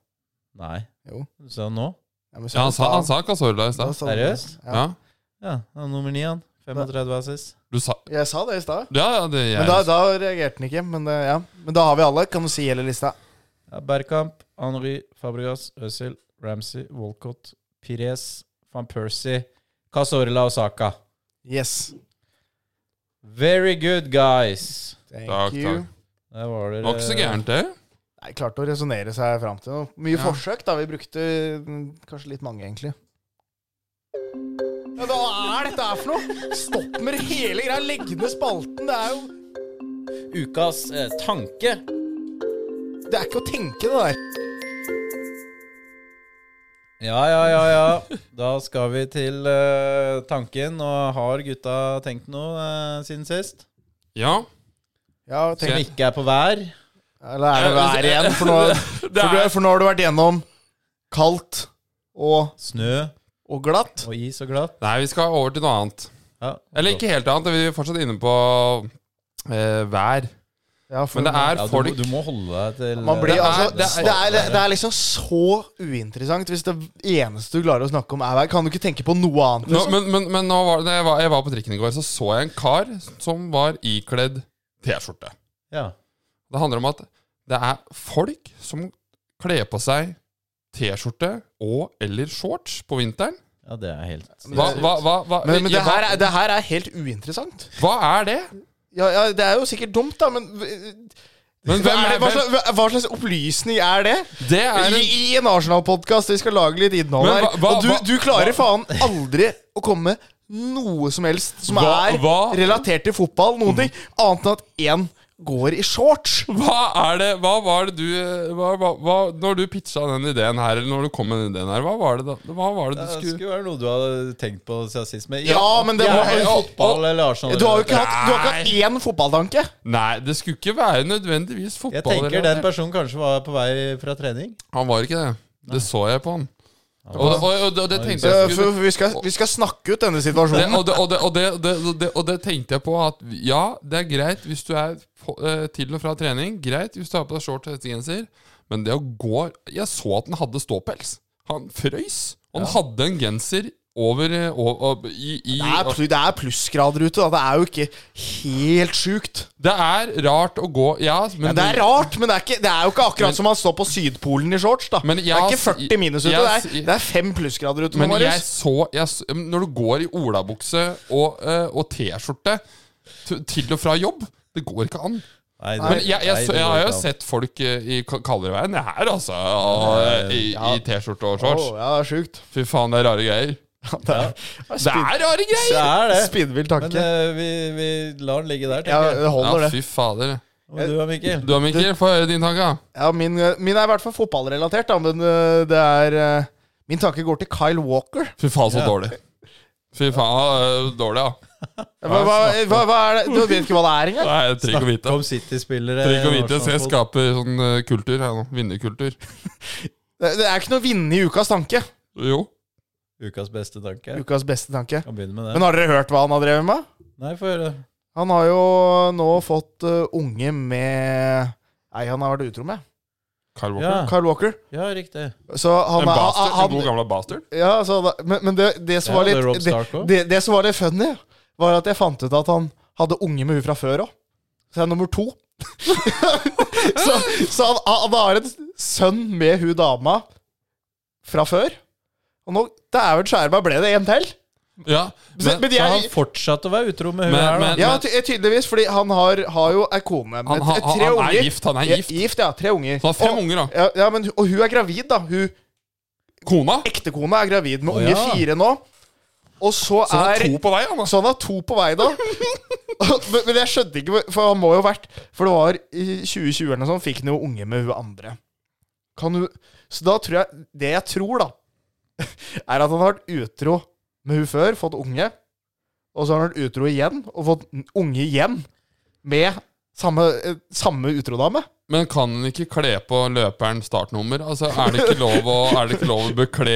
S1: Nei.
S3: Jo.
S1: Du sa nå?
S3: Ja, men så-
S2: ja, han sa, han sa Casorla i
S3: Da
S2: stad.
S3: sa han-
S1: Seriøst?
S3: Ja.
S2: Ja.
S1: Ja, han er nummer ni, han. 35 assist.
S2: Du sa
S3: Jeg sa det i stad.
S2: Ja, ja, det
S3: Men
S2: jeg
S3: da, da reagerte han ikke. Men, det- ja. men da har vi alle. Kan du si hele lista?
S1: Ja, Bergkamp, Henry, Fabregas, Øzil, Ramsey, Walcott, Pires, van Persie, Casorla og Saka.
S3: Yes.
S1: Very good, guys.
S3: Thank
S2: Takk,
S3: you.
S2: takk.
S1: Der var dere
S2: Det var ikke så gærent, det.
S3: Nei, klarte å resonnere seg fram til noe.
S2: Ja.
S3: Mye forsøk, da. Vi brukte mm, kanskje litt mange, egentlig. Ja, hva er dette her for noe? Stopp med det hele greia. Legg ned spalten. Det er jo
S1: Ukas eh, tanke.
S3: Det er ikke å tenke, det der.
S1: Ja, ja, ja, ja. Da skal vi til eh, tanken. Og har gutta tenkt noe eh, siden sist?
S2: Ja.
S3: Ja,
S1: Som
S3: tenk,
S1: ikke er på vær.
S3: eller er det vær igjen? For nå,
S2: Det
S3: for, du,
S2: er,
S3: for nå har du vært gjennom kaldt og,
S1: Snø
S3: og glatt.
S1: og is og glatt.
S2: nei, vi skal over til noe annet.
S1: Ja,
S2: Eller ikke helt annet. Vi er fortsatt inne på eh, vær.
S3: Ja, for,
S2: Men det er
S1: ja, du,
S2: folk
S1: må- du må holde deg til
S3: man blir,
S1: eh,
S2: det er-
S3: altså,
S2: det
S3: det,
S2: er-
S3: er, det, er, liksom så uinteressant hvis det eneste du klarer å snakke om, er vær. Kan du ikke tenke på noe annet?
S2: Nå,
S3: Liksom?
S2: men men, men nå var, det- jeg, var, jeg var på trikken i går, så så jeg en kar som var ikledd T-skjorte.
S1: Ja.
S2: Det handler om at det er folk som kler på seg T-skjorte og eller shorts på vinteren.
S1: ja, det er helt
S2: Hva, hva, hva, hva,
S3: Men, men det,
S2: hva,
S3: her er, det her er helt uinteressant.
S2: hva er det?
S3: Ja, ja, det er jo sikkert dumt, da, men,
S2: Men
S3: hva,
S2: hvem
S3: er
S2: er
S3: det, hva,
S2: hvem-
S3: slags, hva slags opplysning er det?
S2: Det er
S3: I,
S2: en
S3: I en Arsenal-podkast, vi skal lage litt innhold
S2: Men
S3: her.
S2: hva- hva-
S3: Og du,
S2: hva-
S3: du klarer
S2: hva-
S3: faen aldri å komme med noe som helst som
S2: Hva-
S3: er
S2: hva-
S3: relatert til fotball, noen ting, annet enn at én går i shorts.
S2: Hva er det, hva var det du hva, hva, hva, Når du pitcha den ideen her, eller når du kom med den ideen her, hva var det da? Hva var det
S1: Det
S2: du skulle
S1: skulle være noe du hadde tenkt på siden sist. Men
S3: eh, Ja, men det
S1: Jeg
S3: var-
S1: er jo
S3: og-
S1: fotball eller Arsenal.
S3: Du har jo ikke hatt, du har ikke hatt én fotballtanke.
S2: Nei, det skulle ikke være nødvendigvis fotball.
S1: Jeg tenker
S2: eller-
S1: den personen kanskje var på vei fra trening.
S2: Han var ikke det. Det så jeg på han. Og, og, og, og, det tenkte
S3: Eh,
S2: jeg
S3: For
S2: skulle
S3: vi skal, vi skal snakke ut denne
S2: det,
S3: situasjonen.
S2: og, det, og, det, og, det, og det, og det, og det tenkte jeg på at ja, det er greit hvis du er på- eh, til og fra trening. Greit hvis du har på deg shorts og hestegenser, men det å gå Jeg så at han hadde ståpels. Han frøys. Han hadde en genser over, eh, og- og- i, i,
S3: Det er, plu- det er plussgrader ute, da. Det er jo ikke helt sjukt.
S2: Det er rart å gå Ja, men
S3: Ja, det er rart, men det er, ikke, det er jo ikke akkurat som han står på Sydpolen i shorts. da
S2: Men
S3: Det er
S2: jeg-
S3: ikke 40 minus ute,
S2: jeg-
S3: det, er, det er fem plussgrader ute. nå,
S2: Men jeg
S3: Marius.
S2: så, jeg, så- Når du går i olabukse og, eh, og T-skjorte t- til og fra jobb Det går ikke an.
S1: Nei, det-
S2: Men jeg,
S1: nei,
S2: jeg,
S1: det
S2: så, jeg
S1: går
S2: har
S1: ikke
S2: jo
S1: an.
S2: sett folk eh, i ka- kaldere vær enn det her, altså. og, eh, I, i T-skjorte og shorts.
S3: Åh, ja, det er sjukt.
S2: Fy faen, det er rare greier.
S3: Det er,
S2: Det er rare
S1: Det
S2: greier!
S1: er det.
S3: Spinnvill
S1: Men
S3: tanke.
S1: eh, vi, vi lar den ligge der,
S3: Ja,
S1: tenker jeg.
S3: det holder,
S2: Ja,
S3: det.
S2: fy fader.
S1: Og du da, Mikkel?
S2: Du da, Mikkel, få høre din tanke. da.
S3: Ja, min, eh, min er i hvert fall fotballrelatert, da, men øh, det er øh, Min tanke går til Kyle Walker.
S2: Fy faen, så
S1: Ja.
S2: dårlig. Fy faen, eh, dårlig, ja.
S3: Hva, hva, hva, hva er det? Du vet ikke hva det er engang?
S2: Nei, jeg trenger ikke å vite.
S1: Om City-spillere
S2: Trenger ikke å
S1: og
S2: vite, så jeg
S1: eh, Arsenal-folk.
S2: skaper sånn eh, kultur her nå. Vinnerkultur.
S3: Det det er ikke noe å vinne i ukas tanke.
S2: Jo.
S1: Ukas beste tanke.
S3: Ukas beste tanke.
S1: Kan begynne med det.
S3: Men har dere hørt hva han har drevet med?
S1: Nei, få høre.
S3: Han har jo nå fått øh, unge med Nei, han har vært utro med.
S2: Kyle Walker.
S1: Ja,
S3: Kyle Walker.
S1: ja riktig.
S3: Så han,
S2: En,
S3: er-
S2: bastard,
S3: han,
S2: en god gamla bastard.
S3: Ja, altså, da, men, men det, det som
S1: Ja,
S3: var
S1: det er Rob
S3: litt det,
S1: Stark også.
S3: det, det som var litt funny, var at jeg fant ut at han hadde unge med hun fra før òg. Så jeg er nummer to. så så han, han har en sønn med hun dama fra før. Og nå dæven skjærma ble det en til!
S2: Ja,
S3: Men,
S2: men
S3: men
S1: Så han
S3: jeg,
S1: fortsatte å være utro med hun
S2: Men-
S1: her, da.
S2: men-
S3: ja, ty eh, tydeligvis, fordi han har, har jo ei kone med
S2: han, han,
S3: tre
S2: han, han
S3: unger.
S2: er gift. Han er gift.
S3: Ja, gift, ja. Tre unger.
S2: Så han har fem
S3: og,
S2: unger, da.
S3: ja, ja, men, og hun er gravid, da. Hun
S2: Kona.
S3: ektekona er gravid med
S1: Å,
S3: unge
S1: ja.
S3: fire nå. Og så,
S2: Så han
S3: er
S2: har to på vei, han. da.
S3: Så han har to på vei da. men, men jeg skjønte ikke, for han må jo ha vært For det var i 2020 eller noe sånt, fikk han jo unge med hun andre. Kan du Så da tror jeg Det jeg tror, da, er at han har vært utro med hun før, fått unge. Og så har han vært utro igjen, og fått n- unge igjen. Med samme, eh, samme utrodame.
S2: Men kan han ikke kle på løperen startnummer? Altså, Er det ikke lov å, er det ikke lov å bekle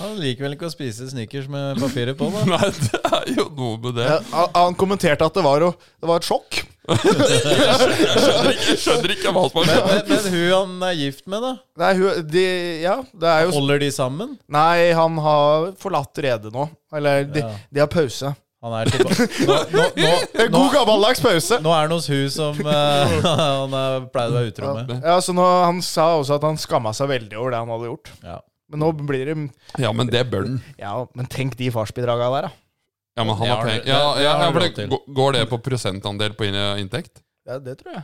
S1: Han liker vel ikke å spise snickers med papiret på, da.
S2: Nei, det er jo noe med det.
S3: Eh, Han han kommenterte at det var, jo, det var et sjokk.
S2: Jeg skjønner ikke, jeg skjønner ikke hva som har skjedd.
S1: Men, men hun han er gift med, da?
S3: Nei, hun, de, ja, det er jo
S1: Holder de sammen?
S3: Nei, han har forlatt redet nå. Eller de,
S1: Ja.
S3: de har pause.
S1: Han er tilbake Nå, nå, nå,
S3: En
S1: nå,
S3: Eh, god gammeldags pause.
S1: nå er han hos hun som eh, han er, pleide å være utro med.
S3: Ja, så nå, Han sa også at han skamma seg veldig over det han hadde gjort.
S1: Ja.
S3: Men nå blir det
S2: Ja, men det bør den.
S3: Ja, men tenk de farsbidraga der, da.
S2: Ja, men han har penger. Ja, ja, ja, for det, går- går det på prosentandel på inn- inntekt?
S3: Ja, det tror jeg.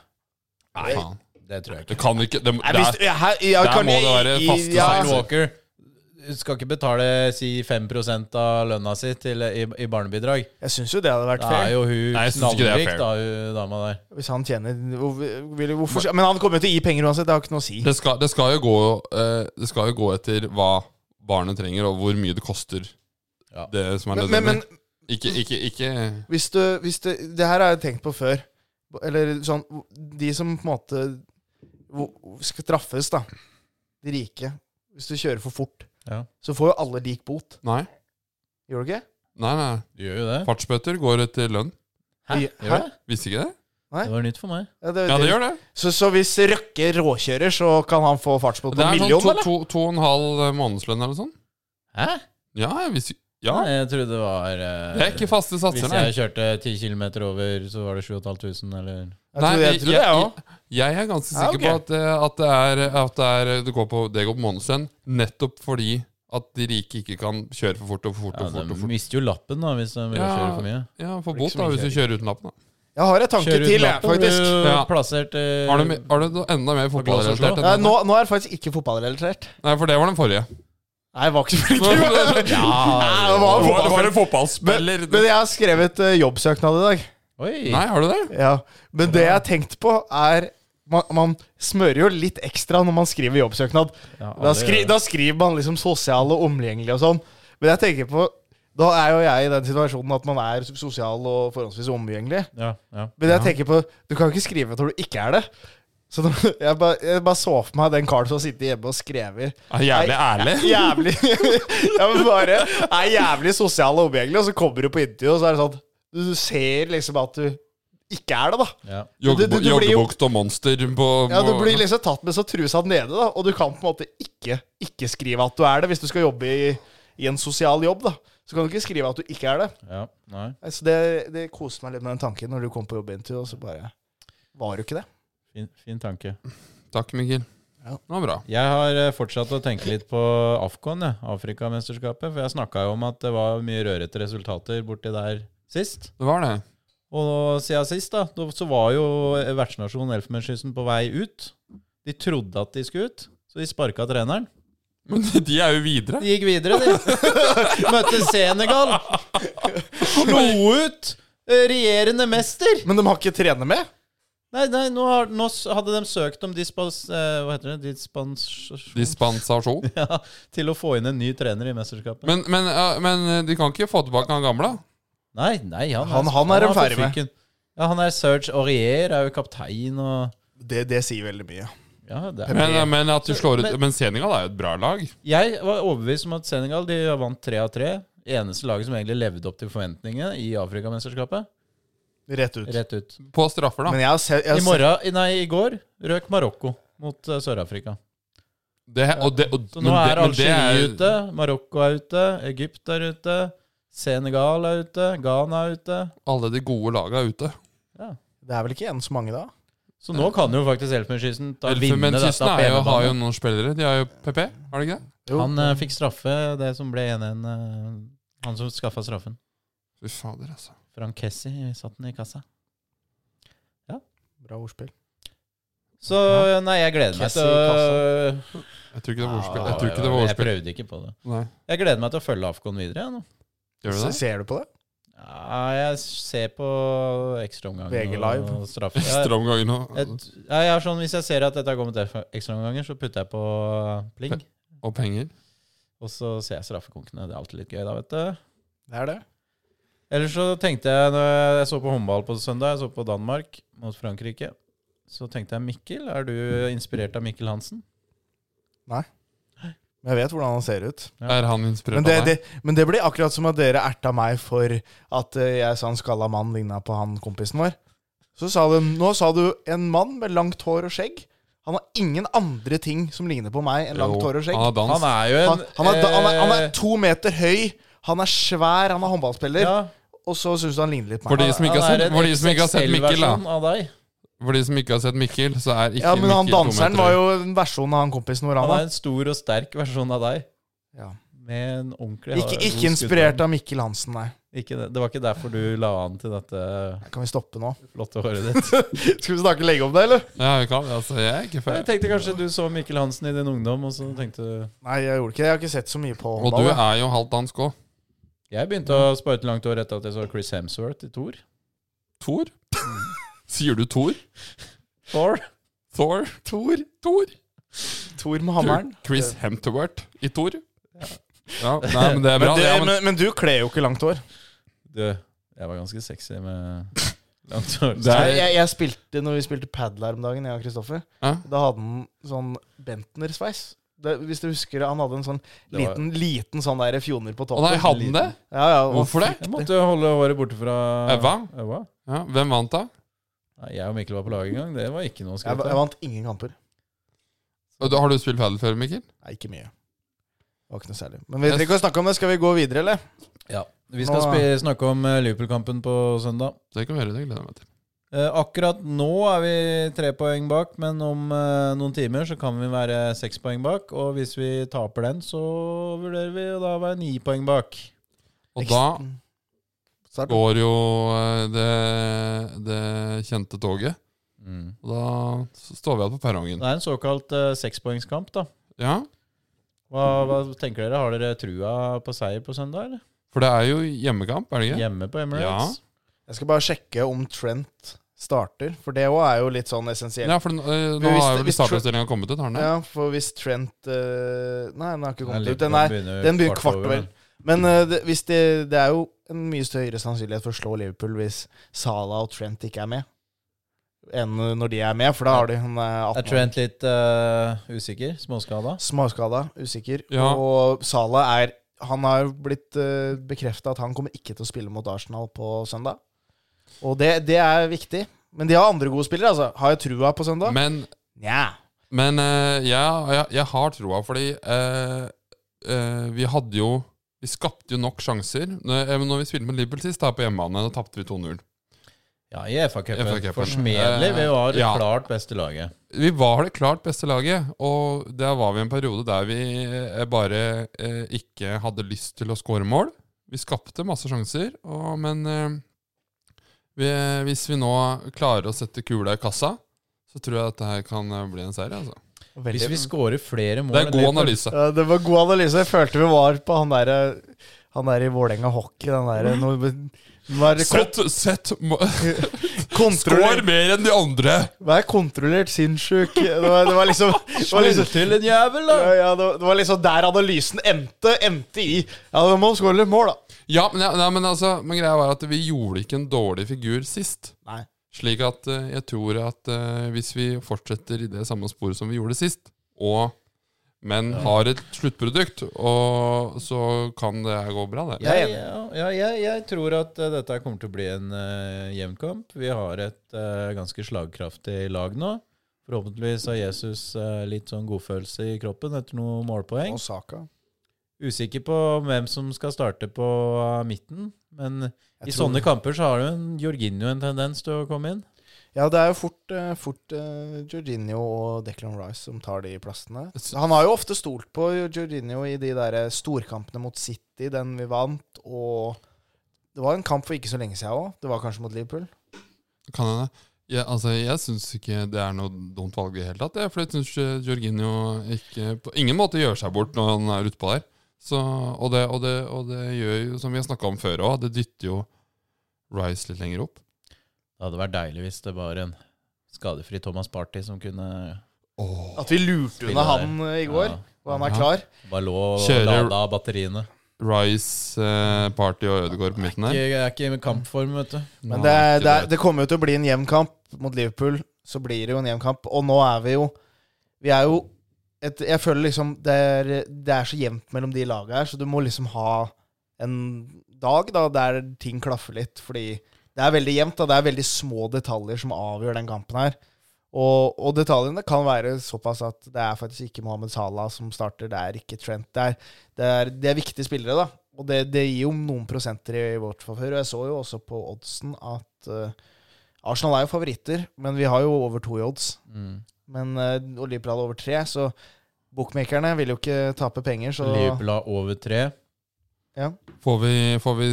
S2: Nei, faen.
S1: Det tror jeg
S2: Det kan ikke det,
S3: Nei,
S2: det
S3: hvis,
S2: er,
S3: ja, her, ja,
S2: der
S3: kan
S2: må
S3: jeg-
S2: det være
S3: i-
S2: faste
S3: ja,
S1: Kyle Walker skal ikke betale si 5 av lønna si til, i, i barnebidrag.
S3: Jeg syns jo det hadde vært
S1: Da er
S3: fair.
S1: jo hun
S2: Nei, jeg synes ikke det er
S1: knallrik,
S2: fair.
S1: da, hun dama der.
S3: Hvis han tjener hvor, vil, hvorfor, Men han kommer jo til å gi penger uansett, det har ikke noe å si.
S2: det, skal, det, skal jo gå, eh, det skal jo gå etter hva barnet trenger, og hvor mye det koster.
S1: Ja.
S2: Det som er
S3: Men, men,
S2: nødvendig.
S3: men
S2: Ikke, ikke, ikke
S3: hvis du, hvis du Det her har jeg tenkt på før. Eller sånn De som på en måte hvor- skal straffes, da. De rike. Hvis du kjører for fort,
S1: Ja.
S3: så får jo alle lik bot.
S2: Nei.
S3: Gjør du ikke?
S2: Nei, nei.
S1: Du gjør jo det.
S2: Fartsbøter går etter lønn.
S1: Hæ? Gjør det?
S2: Visste ikke det?
S3: Hæ?
S1: Det var nytt for meg.
S3: Ja, det,
S2: Ja, det gjør det.
S3: Så, så hvis Røkke råkjører, så kan han få fartsbot på
S2: Det
S3: en
S2: er
S3: million,
S2: sånn to,
S3: eller?
S2: to, to og en halv eh, månedslønn eller noe sånt.
S1: Hæ?
S2: Ja, jeg visste Ja.
S1: Nei, jeg trodde det var eh,
S2: Det er ikke faste satser,
S1: Hvis
S2: nei.
S1: jeg kjørte 10 km over, så var det 7500, eller
S3: Jeg tror, jeg, tror det, jeg òg.
S2: jeg er ganske
S3: Ja,
S2: sikker
S3: ok.
S2: på at, eh, at, det, er, at det, er, det går på, det går på månedslønn, nettopp fordi at de rike ikke kan kjøre for fort og for fort
S1: ja,
S2: og
S1: De
S2: fort. Og fort.
S1: mister jo lappen da hvis de
S2: Ja.
S1: kjører for mye.
S2: Ja, Få
S3: Blir ikke
S2: bot da
S3: så mye
S2: hvis du kjører uten lappen. da.
S3: Jeg har en tanke
S1: Kjører
S3: til, jeg, faktisk.
S1: blir du
S2: Ja.
S1: plassert eh,
S2: Har du, me- har du noe enda mer
S1: glass og slå?
S2: fotballrelatert? enn
S3: Nei,
S2: det?
S3: nå, nå er det faktisk ikke fotballrelatert.
S2: Nei, for det var den forrige.
S3: Nei, jeg var ikke så flink. til det. Nei, det var
S2: Var-
S3: fotball.
S2: var det fotballspiller?
S3: Men jeg har skrevet eh, jobbsøknad i dag.
S1: Oi!
S2: Nei, har du det?
S3: Ja. Men det jeg har tenkt på, er man, man smører jo litt ekstra når man skriver jobbsøknad.
S1: Ja, alle
S3: Da, skri,
S1: gjør det.
S3: da skriver man liksom sosial og omgjengelig og sånn. Men jeg tenker på Da er jo jeg i den situasjonen at man er sosial og forholdsvis omgjengelig.
S1: Ja, ja.
S3: Men jeg tenker på Du kan jo ikke skrive når du ikke er det. Så da, jeg, bare, jeg bare så for meg den karen som sitter hjemme og skrever
S2: Er jævlig ærlig.
S3: Jævlig Ja, men bare Er jævlig sosial og omgjengelig, og så kommer du på intervju, og så er det sånn Du, du ser liksom at du ikke er det, da.
S1: ja.
S3: du- du- du blir jo-
S2: Joggebukt og monster på, på
S3: Ja, Du blir liksom tatt med så trusa nede, da. Og du kan på en måte ikke, ikke skrive at du er det, hvis du skal jobbe i, i en sosial jobb, da. Så kan du ikke skrive at du ikke er det.
S1: ja. Nei.
S3: Så det, det koste meg litt med den tanken når du kom på jobbintervju, og så bare Var du ikke det?
S1: Fin, fin tanke.
S2: Takk, Mikkel.
S3: Ja.
S2: Det var bra.
S1: Jeg har eh, fortsatt å tenke litt på Afcon, jeg. Afrikamesterskapet. For jeg snakka jo om at det var mye rørete resultater borti der sist.
S2: Det var det.
S1: Og nå, siden sist, da, da, så var jo vertsnasjonen Elfenbenskysten på vei ut. De trodde at de skulle ut, så de sparka treneren.
S2: Men de er jo videre.
S1: De gikk videre, de. Møtte Senegal. Slo ut eh, regjerende mester.
S3: Men de har ikke trene med?
S1: Nei, nei, nå, har, nå s- hadde de søkt om dispens... eh, Hva heter det? Dispens...
S2: Dispensasjon.
S1: Ja, til å få inn en ny trener i mesterskapet.
S2: Men, men, ja, men eh, de kan ikke få tilbake han gamle? da?
S1: nei, nei, han,
S3: Han- han er de
S1: på
S3: ferdig med.
S1: fyken. Ja, han er Serge Aurier, er jo kaptein og
S3: Det, det sier veldig mye.
S1: Ja, det er
S2: Men, men at du slår ut
S1: Men-
S2: Men Senegal er jo et bra lag.
S1: Jeg var overbevist om at Senegal de vant tre av tre. Eneste laget som egentlig levde opp til forventningene i Afrikamesterskapet.
S3: Rett ut.
S1: Rett ut.
S2: På straffer, da.
S3: Men jeg har sett jeg
S1: I
S3: har sett-
S1: morgen, nei, i går røk Marokko mot eh, Sør-Afrika.
S2: Det, og det, og,
S1: Så
S2: men
S1: nå
S2: det-
S1: er
S2: men det
S1: Algerie
S2: er-
S1: ute, Marokko er ute, Egypt er ute, Senegal er ute, Ghana er ute.
S2: Alle de gode laga er ute.
S3: Det er vel ikke en så mange, da?
S1: Så nå kan jo faktisk Elfenbenskysten ta- vinne dette
S2: Elfenbenskysten
S1: på
S2: er jo- har jo
S1: hjemmebane.
S2: noen spillere. De har jo PP, har de ikke det?
S1: Han eh, fikk straffe det som ble 1-1. eh, han som skaffa straffen.
S2: Fy fader, altså.
S1: Frankessi satt den i kassa.
S3: Bra ordspill.
S1: Så eh, nei, jeg gleder meg
S3: Kessi
S1: til
S3: i
S1: å
S2: Jeg tror ikke det var ordspill.
S1: Ja,
S2: Jeg tror ikke det
S1: ja,
S2: var
S1: Jeg
S2: ordspill.
S1: prøvde ikke på det.
S2: Nei.
S1: Jeg gleder meg til å følge Afcon videre. Jeg, nå.
S2: Gjør du
S3: Så
S2: det?
S3: ser du på det?
S1: Ja, jeg ser på ekstraomganger.
S3: VG Live.
S1: og straffe. Jeg,
S2: Stramgangen og,
S1: jeg, ja, jeg er sånn, hvis jeg ser at dette har kommet til ekstraomganger, så putter jeg på pling.
S2: og penger.
S1: Og så ser jeg straffekonkene. Det er alltid litt gøy, da, vet du.
S3: Det er det.
S1: Ellers så tenkte jeg Når jeg så på håndball på søndag, jeg så på Danmark mot Frankrike, så tenkte jeg Mikkel, er du inspirert av Mikkel Hansen?
S3: Men jeg vet hvordan han ser ut.
S1: Ja.
S2: Er han inspirert
S3: Men det,
S2: av
S3: det,
S2: deg?
S3: men det blir akkurat som at dere erta meg for at eh, jeg sa en skalla mann ligna på han kompisen vår. Så sa de Nå sa du en mann med langt hår og skjegg. Han har ingen andre ting som ligner på meg enn langt
S2: Jo,
S3: hår og skjegg.
S2: Han har dans.
S1: Han er jo en
S3: Han, han, er, da- han, er, han er
S1: eh,
S3: to meter høy, han er svær, han er håndballspiller,
S1: ja,
S3: og så syns du han ligner litt på
S2: For
S3: meg.
S2: de som ikke har
S1: han er
S2: sett,
S1: en
S2: for de som ikke har sett Mikkel, da.
S1: XXL-versjon av deg.
S2: For de som ikke har sett Mikkel, så er ikke
S3: Ja, men han
S2: Mikkel to
S3: danseren
S2: meter
S3: var
S2: høy.
S3: jo en versjon av han kompisen vår.
S1: Han
S3: Han,
S1: er en stor og sterk versjon av deg.
S3: da. ja.
S1: Med en ordentlig
S3: Ikke,
S1: god
S3: ikke inspirert av Mikkel Hansen, nei.
S1: skuddvarm. ikke det. det var ikke derfor du la an til dette
S3: Kan vi stoppe nå?
S1: flotte håret ditt.
S3: Skal vi snakke lenge om det, eller?
S2: Ja, vi kan, altså, jeg er ikke
S1: Jeg
S2: feil.
S1: tenkte kanskje du så Mikkel Hansen i din ungdom, og så tenkte du
S3: Nei, jeg gjorde ikke det. Jeg har ikke sett så mye på
S2: Og du
S3: håndball. jeg.
S2: er jo halvt dansk òg.
S1: Jeg begynte å sparke langt hår etter at jeg så Chris Hemsworth i Thor.
S2: Thor? Sier du Thor?
S1: Thor?
S2: Thor? Thor? Thor?
S3: Tor med hammeren.
S2: Chris Hemtworth i Thor? Ja, nei, men det er bra.
S3: Men, det,
S2: ja,
S3: men, men du kler jo ikke langt hår.
S1: Du, jeg var ganske sexy med langt hår.
S2: Det er-
S3: Nei, jeg, jeg spilte når vi spilte padel her om dagen, jeg og Kristoffer.
S2: Ja.
S3: Da hadde han sånn Bentner-sveis. Det, hvis du husker, han hadde en sånn
S1: Det var-
S3: liten, liten sånn der fjoner på
S2: Å
S3: toppen.
S2: nei, hadde han det?
S3: Ja, ja, og-
S2: Hvorfor det?
S1: Jeg måtte jo holde håret borte fra
S2: Øva?
S1: Øva.
S2: Ja, hvem vant da?
S1: Nei, jeg og Mikkel var på lag en gang. Det var ikke noe å
S3: Jeg,
S1: skryte
S3: jeg
S1: av.
S3: vant ingen kamper.
S2: Og du- Har du spilt padel før, Mikkel?
S3: Nei, ikke mye. Det var ikke noe særlig. Men vi trenger ikke å snakke om det. Skal vi gå videre, eller?
S1: Ja. Vi skal
S3: Nå-
S1: spi- snakke om eh, Liverpool-kampen på søndag.
S2: Det kan vi gjøre, det gleder jeg meg til.
S1: Eh, akkurat nå er vi tre poeng bak, men om eh, noen timer så kan vi være seks poeng bak. Og hvis vi taper den, så vurderer vi å da være ni poeng bak.
S2: Og da
S3: Mm. Start.
S2: går jo eh, det, det kjente toget.
S1: Mm.
S2: Og da s- står vi igjen på perrongen.
S1: Det er en såkalt eh, sekspoengskamp, da.
S2: Ja,
S1: Hva, hva tenker dere? Har dere trua på seier på søndag, eller?
S2: for det er jo hjemmekamp, er det ikke?
S1: Hjemme på Emirates?
S3: Jeg skal bare sjekke om Trent starter, for det òg er jo litt sånn essensielt.
S2: Ja, for nå, eh,
S3: Men
S2: nå
S3: hvis-
S2: har jo
S3: hvis-
S2: startoppstillinga kommet ut, har den det?
S3: Ja, for hvis Trent eh, Nei, den har ikke kommet ut.
S1: Liverpool
S3: Den er
S1: begynner
S3: den begynner kvart
S1: over,
S3: over. Men eh, det, hvis det, det er jo en mye større sannsynlighet for å slå Liverpool hvis Salah og Trent ikke er med, enn eh, når de er med, for da har de han er
S1: Er
S3: 18 år.
S1: Trent litt eh, usikker? Småskada?
S3: Småskada, usikker.
S2: Ja.
S3: Og Salah er Han har blitt uh, bekrefta at han kommer ikke til å spille mot Arsenal på søndag. Og det, det er viktig. Men de har andre gode spillere, altså. Har jeg trua på søndag?
S2: Men,
S3: Nja.
S2: men eh, jeg, jeg, jeg har troa, fordi eh, eh, vi hadde jo Vi skapte jo nok sjanser. Når, eh, når vi spilte med Liverpool sist, da på hjemmebane, da tapte vi 2-0.
S1: Ja, i FA-cupen.
S2: FA-cupen.
S1: Forsmedelig. Vi var
S2: Eh, ja.
S1: klart beste laget.
S2: Vi var det klart beste laget, og der var vi i en periode der vi eh, bare eh, ikke hadde lyst til å skåre mål. Vi skapte masse sjanser, og, men eh, vi, hvis vi nå klarer å sette kula i kassa, så tror jeg at dette her kan eh, bli en seier. Altså.
S1: Hvis vi scorer flere mål
S2: Det er
S1: enn
S2: god
S1: Liverpool-
S2: analyse.
S3: Ja, det var god analyse. Jeg følte vi var på han derre han der i Vålerenga hockey, den derre
S2: Sett, sett må- Skår
S3: Kontroller,
S2: mer enn de andre!
S3: Vær kontrollert sinnssyk. Det var, det var liksom, det var liksom
S1: Slutt til en jævel, da!
S3: ja, ja, det var- det var liksom der analysen endte, endte i Ja, du må skåre litt mål, da.
S2: Ja, men, ja, nei, men, altså, men greia var at vi gjorde ikke en dårlig figur sist.
S3: Nei.
S2: Slik at eh, jeg tror at eh, hvis vi fortsetter i det samme sporet som vi gjorde sist, og men har et sluttprodukt, og så kan det her gå bra, det.
S3: Jeg er
S1: Jeg, ja, ja, jeg, jeg tror at eh, dette her kommer til å bli en uh, jevn kamp. Vi har et eh, ganske slagkraftig lag nå. Forhåpentligvis har Jesus eh, litt sånn godfølelse i kroppen etter noen målpoeng.
S3: Saka.
S1: Usikker på hvem som skal starte på eh, midten, men i
S3: tror-
S1: sånne kamper så har jo en Jorginho en tendens til å komme inn.
S3: Ja, det er jo fort, eh, fort eh, Jorginho og Declan Rice som tar de plassene. Han har jo ofte stolt på Jorginho i de der eh, storkampene mot City, den vi vant, og det var en kamp for ikke så lenge siden òg. Det var kanskje mot Liverpool.
S2: Kan hende. Jeg, altså, jeg syns ikke det er noe dumt valg i det hele tatt. jeg, For jeg syns eh, Jorginho ikke på ingen måte gjør seg bort når han er utpå der. Så, og, det, og, det, og det gjør jo, som vi har snakka om før òg, det dytter jo Rice litt lenger opp.
S1: Det hadde vært deilig hvis det var en skadefri Thomas Party som kunne
S2: Åh.
S3: At vi lurte
S1: Spiller
S3: unna
S1: der.
S3: han eh, i går,
S1: Ja.
S3: og han
S2: Ja.
S3: er klar.
S1: bare lå og
S2: Kjører-
S1: lade av batteriene.
S2: Rice, eh, Party og Ødegaard på midten
S1: Det
S2: her.
S1: er ikke i kampform, vet du.
S3: Men
S2: Nei,
S3: det, er,
S2: ikke
S3: det, er, det kommer jo til å bli en jevn kamp mot Liverpool. Så blir det jo en jevn kamp. Og nå er vi jo Vi er jo et, Jeg føler liksom det er, det er så jevnt mellom de laga her, så du må liksom ha en dag da der ting klaffer litt. Fordi det er veldig jevnt. da Det er veldig små detaljer som avgjør den kampen her. Og, og detaljene kan være såpass at det er faktisk ikke Mohammed Salah som starter, det er ikke Trent. Det er, det er, det er viktige spillere, da. Og det, det gir jo noen prosenter i vårt favør. Og jeg så jo også på oddsen at eh, Arsenal er jo favoritter, men vi har jo over to i odds.
S1: Mm.
S3: Men eh, og Liverpool hadde over tre, så bookmakerne vil jo ikke tape penger, så
S1: Liverpool har over tre.
S3: ja.
S2: Får vi, får vi,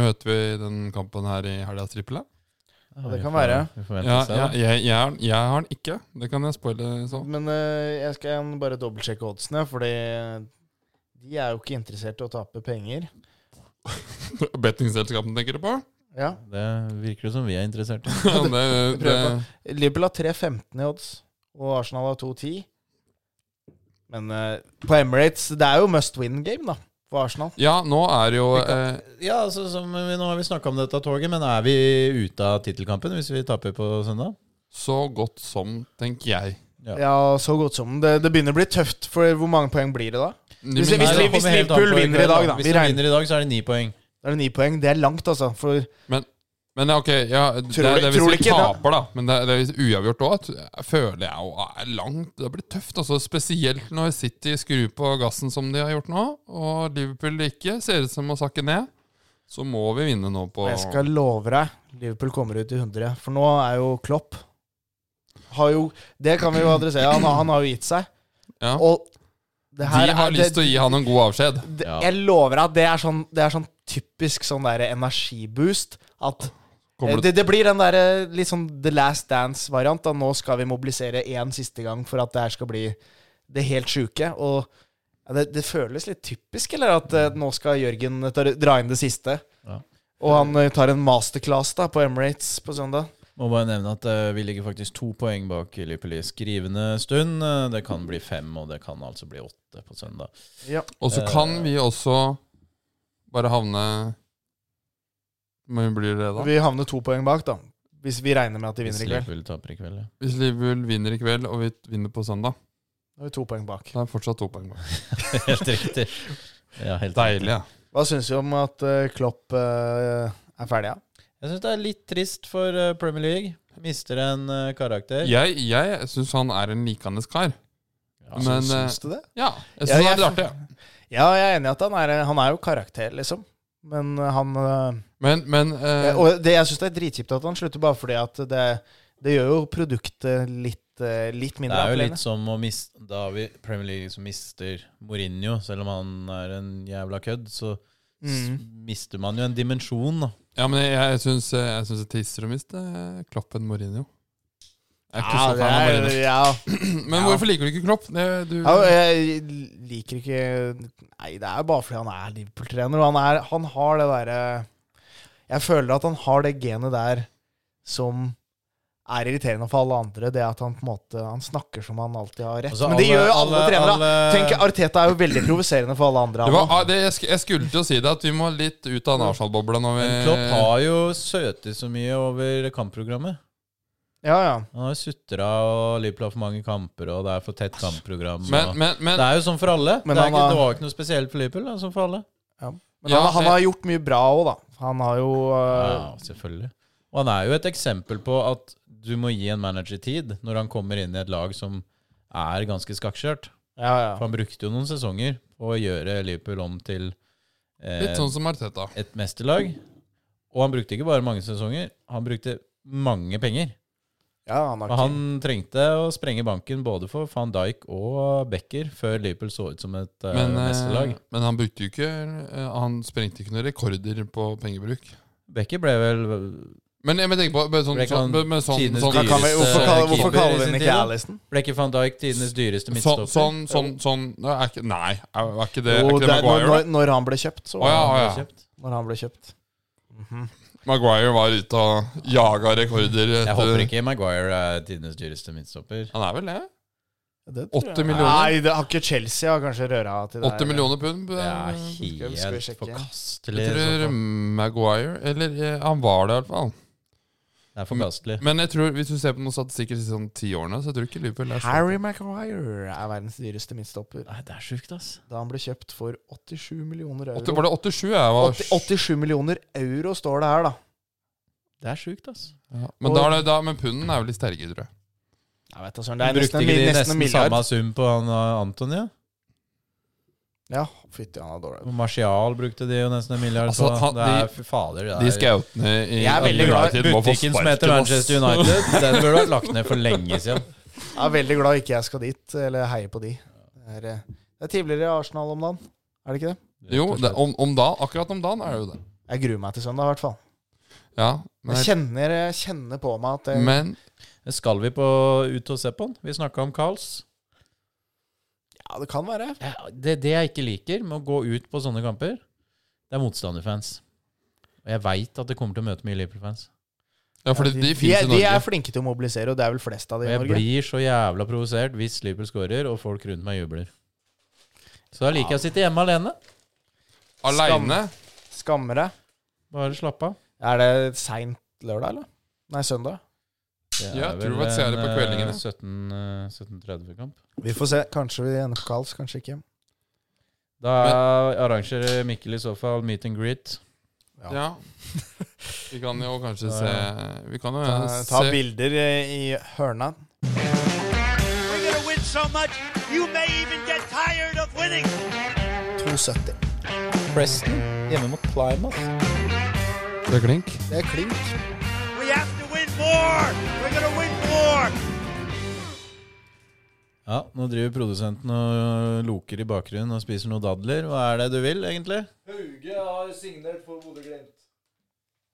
S2: møter vi den kampen her i helgas trippel? da?
S1: Ja,
S3: det
S1: vi
S3: kan
S1: får-
S3: være.
S1: Vi får vente
S2: Ja,
S1: og se.
S2: ja,
S1: da.
S2: jeg, jeg, jeg har den ikke. Det kan jeg spoile så.
S3: Men eh, jeg skal bare dobbeltsjekke oddsene, fordi eh, de er jo ikke interessert i å tape penger.
S2: Bettingselskapene tenker du på?
S3: Ja.
S1: Det virker jo som vi er interessert i.
S2: Ja, det,
S3: prøver
S2: det,
S3: på. Liverpool har 3-15 i odds, og Arsenal har 2-10. Men eh, på Emirates Det er jo must win game, da, for Arsenal.
S2: ja, nå er det jo
S3: Vi
S2: eh,
S1: Ja, altså, som vi, Nå har vi snakka om dette toget, men er vi ute av tittelkampen hvis vi taper på søndag?
S2: så godt som, tenker jeg.
S1: Ja.
S3: Ja, så godt som. Det, det begynner å bli tøft, for hvor mange poeng blir det da?
S2: Men-
S3: Hvis-
S1: Nei, det
S3: hvis
S1: kommer helt an
S3: Liverpool
S1: på
S3: vinner i dag, da.
S1: Hvis
S3: Vi
S1: de
S3: regner-
S1: vinner i dag, så er det ni poeng.
S3: Da er det ni poeng. Det er langt, altså. For
S2: Men ja, ok, ja, det,
S3: Tror
S2: er- det
S3: du-
S2: er hvis
S3: tror du
S2: vi
S3: ikke det?
S2: taper, da. Men det, er- det er hvis uavgjort òg. Føler jeg jo er langt. Det blir tøft. altså Spesielt når City skrur på gassen som de har gjort nå, og Liverpool ikke ser ut som å sakke ned. Så må vi vinne nå på
S3: jeg skal love deg, Liverpool kommer ut i 100. For nå er jo Klopp har jo, Det kan vi jo adressere. Han, han har jo gitt seg.
S2: Ja.
S3: Og det her
S2: De har
S3: er-
S2: lyst
S3: det-
S2: til å gi han en god avskjed.
S3: det,
S1: Ja.
S3: Jeg lover deg at det er sånn, det er sånn typisk sånn der energiboost. At
S2: Kommer
S3: Eh, det, det blir den der, litt sånn The Last Dance-variant. da. Nå skal vi mobilisere én siste gang for at det her skal bli det helt sjuke. Og ja, det, det føles litt typisk, eller? At eh, nå skal Jørgen ta- dra inn det siste.
S1: Ja.
S3: Og han eh, tar en masterclass da på Emirates på søndag.
S1: Må bare nevne at eh, vi ligger faktisk to poeng bak Liverpool i skrivende stund. Eh, Det kan bli fem, og det kan altså bli åtte på søndag.
S3: Ja.
S2: Og så
S1: Eh.
S2: kan vi også bare havne Men blir det da?
S3: Vi havner to poeng bak, da. Hvis vi regner med at de
S1: Hvis
S3: vinner i kveld.
S1: Liverpool taper i kveld, ja.
S2: Hvis Liverpool vinner i kveld, og vi vinner på søndag,
S3: Da er vi to poeng bak.
S2: da er det fortsatt to poeng bak.
S1: Helt riktig. Ja, helt
S2: Deilig, ja.
S3: Hva syns vi om at eh, Klopp eh, er ferdig? Ja?
S1: riktig. Jeg syns det er litt trist for eh, Premier League. Mister en eh, karakter.
S2: Jeg, jeg syns han er en likandes kar.
S1: Ja, altså,
S2: men eh,
S3: Syns du det?
S2: ja, jeg syns
S3: Ja,
S2: han er litt
S3: jeg-
S2: artig. ja.
S3: Ja, jeg er enig i at han er, eh, han er jo karakter, liksom. Men eh, han eh,
S2: Men, men eh,
S3: Og det, jeg syns det er dritkjipt at han slutter, bare fordi at det, det gjør jo produktet litt, eh, litt
S1: Det
S3: mindre
S1: er jo
S3: appellerende.
S1: litt som å miste Da har vi Premier League som mister Mourinho, selv om han er en jævla kødd, så s-
S3: Mm.
S1: mister man jo en dimensjon, da.
S2: Ja, men jeg, jeg syns jeg syns det tisser å miste Klopp enn eh, Mourinho. Jeg er ikke
S3: Ja,
S2: så
S3: det
S2: fan av
S3: er,
S2: Mourinho.
S3: ja.
S2: Men hvorfor liker du ikke Klopp? Det, du,
S3: Ja, og jeg liker ikke Nei, det er bare fordi han er Liverpool-trener, og han, er, han har det derre Jeg føler at han har det genet der som er irriterende for alle andre. Det at han på en måte Han snakker som han alltid har rett.
S1: Altså,
S3: Men det
S1: alle-
S3: gjør jo alle,
S1: alle-
S3: trenere. da.
S1: alle-
S3: Tenk, Arteta er jo veldig provoserende for alle andre.
S2: det
S3: han
S2: var,
S3: da.
S2: ah, det, jeg, sk- jeg skulle til å si det, at vi må litt ut av den Arsenal-bobla når vi
S1: Men Klopp har jo søtet så mye over kampprogrammet.
S3: Ja, ja.
S1: Han har sutra, og Liverpool har for mange kamper, og det er for tett kampprogram.
S2: Men,
S1: og-
S2: men, men
S1: det er jo sånn for alle.
S3: Men
S1: det, er
S3: han
S1: ikke,
S3: har-
S1: det var ikke noe spesielt for Liverpool. Det er sånn for alle.
S3: Men
S2: Ja,
S3: han, han
S2: jeg-
S3: har gjort mye bra òg, da. Han har jo
S1: Ja,
S3: øh,
S1: selvfølgelig. Og han er jo et eksempel på at du må gi en manager tid når han kommer inn i et lag som er ganske skakkskjørt.
S3: Ja, ja.
S1: For han brukte jo noen sesonger på å gjøre Liverpool om til eh,
S2: litt sånn som Arteta.
S1: et mesterlag. Og han brukte ikke bare mange sesonger, han brukte mange penger.
S3: ja han har
S1: Og
S3: ikke
S1: han trengte å sprenge banken både for van Dijk og Becker før Liverpool så ut som et eh,
S2: Men, eh,
S1: mesterlag.
S2: men han brukte jo ikke eh, Han sprengte ikke noen rekorder på pengebruk.
S1: Becker ble vel
S2: Men jeg må tenke på men sånn,
S1: Ble ikke
S2: sånn,
S1: han
S2: men sånn, sånn,
S1: tidenes
S2: sånn,
S3: Da kan vi, hvorfor, kaller,
S1: Keeper
S3: hvorfor kaller
S1: i
S3: vi
S1: sin
S3: den
S1: tid,
S3: ikke
S1: da?
S3: Allison?
S1: Ble ikke van Dijk tidenes dyreste
S2: sånn,
S1: midtstopper?
S2: sånn, sånn, sånn Nei, er ikke, nei, er er ikke det, er
S3: Jo,
S2: ikke
S3: det
S2: det
S3: er når,
S2: Maguire?
S3: når- når han ble kjøpt, så
S2: Å ja, å
S1: Han ble
S2: ja.
S1: kjøpt.
S3: Når han ble kjøpt. Mhm.
S2: Maguire var ute og jaga rekorder.
S1: Jeg håper ikke Maguire er tidenes dyreste midtstopper.
S2: Han er vel det?
S3: Det tror
S2: 80
S3: jeg.
S2: millioner,
S3: Nei, det har ikke Chelsea har kanskje røra til
S2: 80 millioner pund.
S1: Det er
S2: eh,
S3: vi- skal vi
S1: helt
S3: sjekke?
S1: forkastelig. i
S2: Jeg
S1: så
S2: tror
S1: fall.
S2: Maguire Eller eh, han var det, i hvert fall.
S1: Det er forkastelig.
S2: Men jeg tror, hvis du ser på noen statistikker de siste sånn ti årene, så jeg tror ikke Liverpool er så-
S3: Harry Maguire er verdens dyreste midtstopper.
S1: Nei, det er sjukt, ass.
S3: Da han ble kjøpt for 87 millioner
S2: Åtte-
S3: euro.
S2: Var det 87? Jeg var,
S3: 80, 87 millioner euro står det her, da.
S1: Det er sjukt, ass.
S2: Ja, men, da er det, da, men punden er jo litt sterkere, tror jeg.
S3: Jeg vet da søren,
S1: Du
S3: det er
S1: brukte
S3: nesten, en
S1: ikke
S3: mi-
S1: de
S3: nesten en
S1: nesten
S3: milliard.
S1: samme sum på han uh, Antonia?
S3: Ja, fytti han er dårlig.
S1: Og Martial brukte de jo nesten en milliard
S2: Altså,
S1: på.
S2: han-
S1: det er
S2: de-
S1: fy fader. Det er,
S2: De skautene i
S3: Jeg er veldig glad i
S2: United må få
S1: Butikken som
S2: sparken,
S1: heter
S2: ass.
S1: Manchester United, den burde vært lagt ned for lenge siden.
S3: Jeg er veldig glad ikke jeg skal dit, eller heier på de. Det er, eh, det er triveligere i Arsenal om dagen, er det ikke det?
S2: Jo, det, om, om da, akkurat om dagen er det jo det.
S3: Jeg gruer meg til søndag, i hvert fall.
S2: Ja, men,
S3: Jeg kjenner, jeg kjenner på meg at eh, det,
S2: men
S1: Skal vi på ut og se på den? Vi snakka om Carls.
S3: ja, det kan være.
S1: Det, det jeg ikke liker med å gå ut på sånne kamper, det er motstanderfans. Og jeg veit at det kommer til å møte mye Liverpool-fans.
S2: Ja, for de, de
S3: de,
S2: finnes
S3: er-
S2: i
S3: de er
S2: Norge.
S3: flinke til å mobilisere, og det er vel flest av
S1: Og
S3: de i
S1: jeg
S3: Norge.
S1: blir så jævla provosert hvis Liverpool scorer, og folk rundt meg jubler. Så da liker jeg å sitte hjemme alene.
S2: Aleine.
S3: Skammer deg.
S1: Bare slappe av.
S3: Er det seint lørdag, eller? Nei, søndag.
S1: Det
S2: Ja,
S1: er
S2: tror du
S1: vel
S2: at jeg er på
S1: en,
S2: kveldingen,
S1: eh,
S2: da?
S1: 17, eh, 17.30-kamp.
S3: Vi får se. Kanskje vi ender på Karls, kanskje ikke.
S1: Da arrangerer Mikkel i så fall meet and greet.
S3: Ja.
S2: Ja. Vi kan jo kanskje
S1: Ja,
S2: se Vi kan jo eh,
S3: Ta, ta
S2: se
S3: bilder eh, i hørna.
S4: We're going to win so much, you may even get tired of winning.
S3: 270.
S1: Preston hjemme mot Plymouth.
S2: Det er klink.
S3: Det er klink.
S4: We have to win more. We're going to win more.
S1: Ja, nå driver produsenten og loker i bakgrunnen og spiser noen dadler. Hva er det du vil, egentlig?
S5: Hauge har signert for Bodø-Glimt.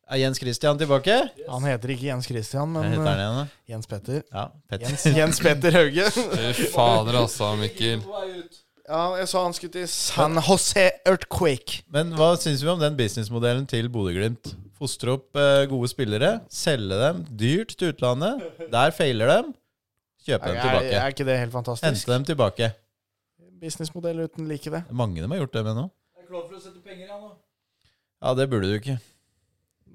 S1: Er Jens Christian tilbake?
S3: Han heter ikke Jens Christian,
S1: Jeg
S3: men
S1: heter han
S3: eh,
S1: igjen, da.
S3: Jens Petter.
S1: Ja, Petter.
S3: Jens, Jens Petter Hauge.
S2: Fy fader, altså, Mikkel.
S5: På vei ut.
S3: Ja, jeg så han skulle til San Jose Earthquake.
S1: Men hva syns vi om den businessmodellen til Bodø-Glimt? Fostre opp eh, gode spillere, selge dem dyrt til utlandet. Der feiler dem. Kjøpe dem
S3: Er,
S1: tilbake.
S3: er ikke det helt fantastisk?
S1: Hente dem tilbake.
S3: Businessmodell uten like det.
S1: Mange dem har gjort det med nå.
S5: Jeg er klar for å sette penger, jeg nå.
S1: Ja, det burde du ikke.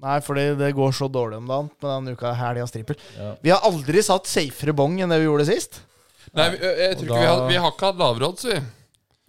S3: Nei, fordi det går så dårlig om dagen med den uka her de har stripper.
S1: Ja.
S3: Vi har aldri satt safere bong enn det vi gjorde sist.
S2: Nei, vi- jeg, jeg tror
S1: Og
S2: ikke vi har,
S1: da-
S2: vi har ikke hatt lavråd, sier vi.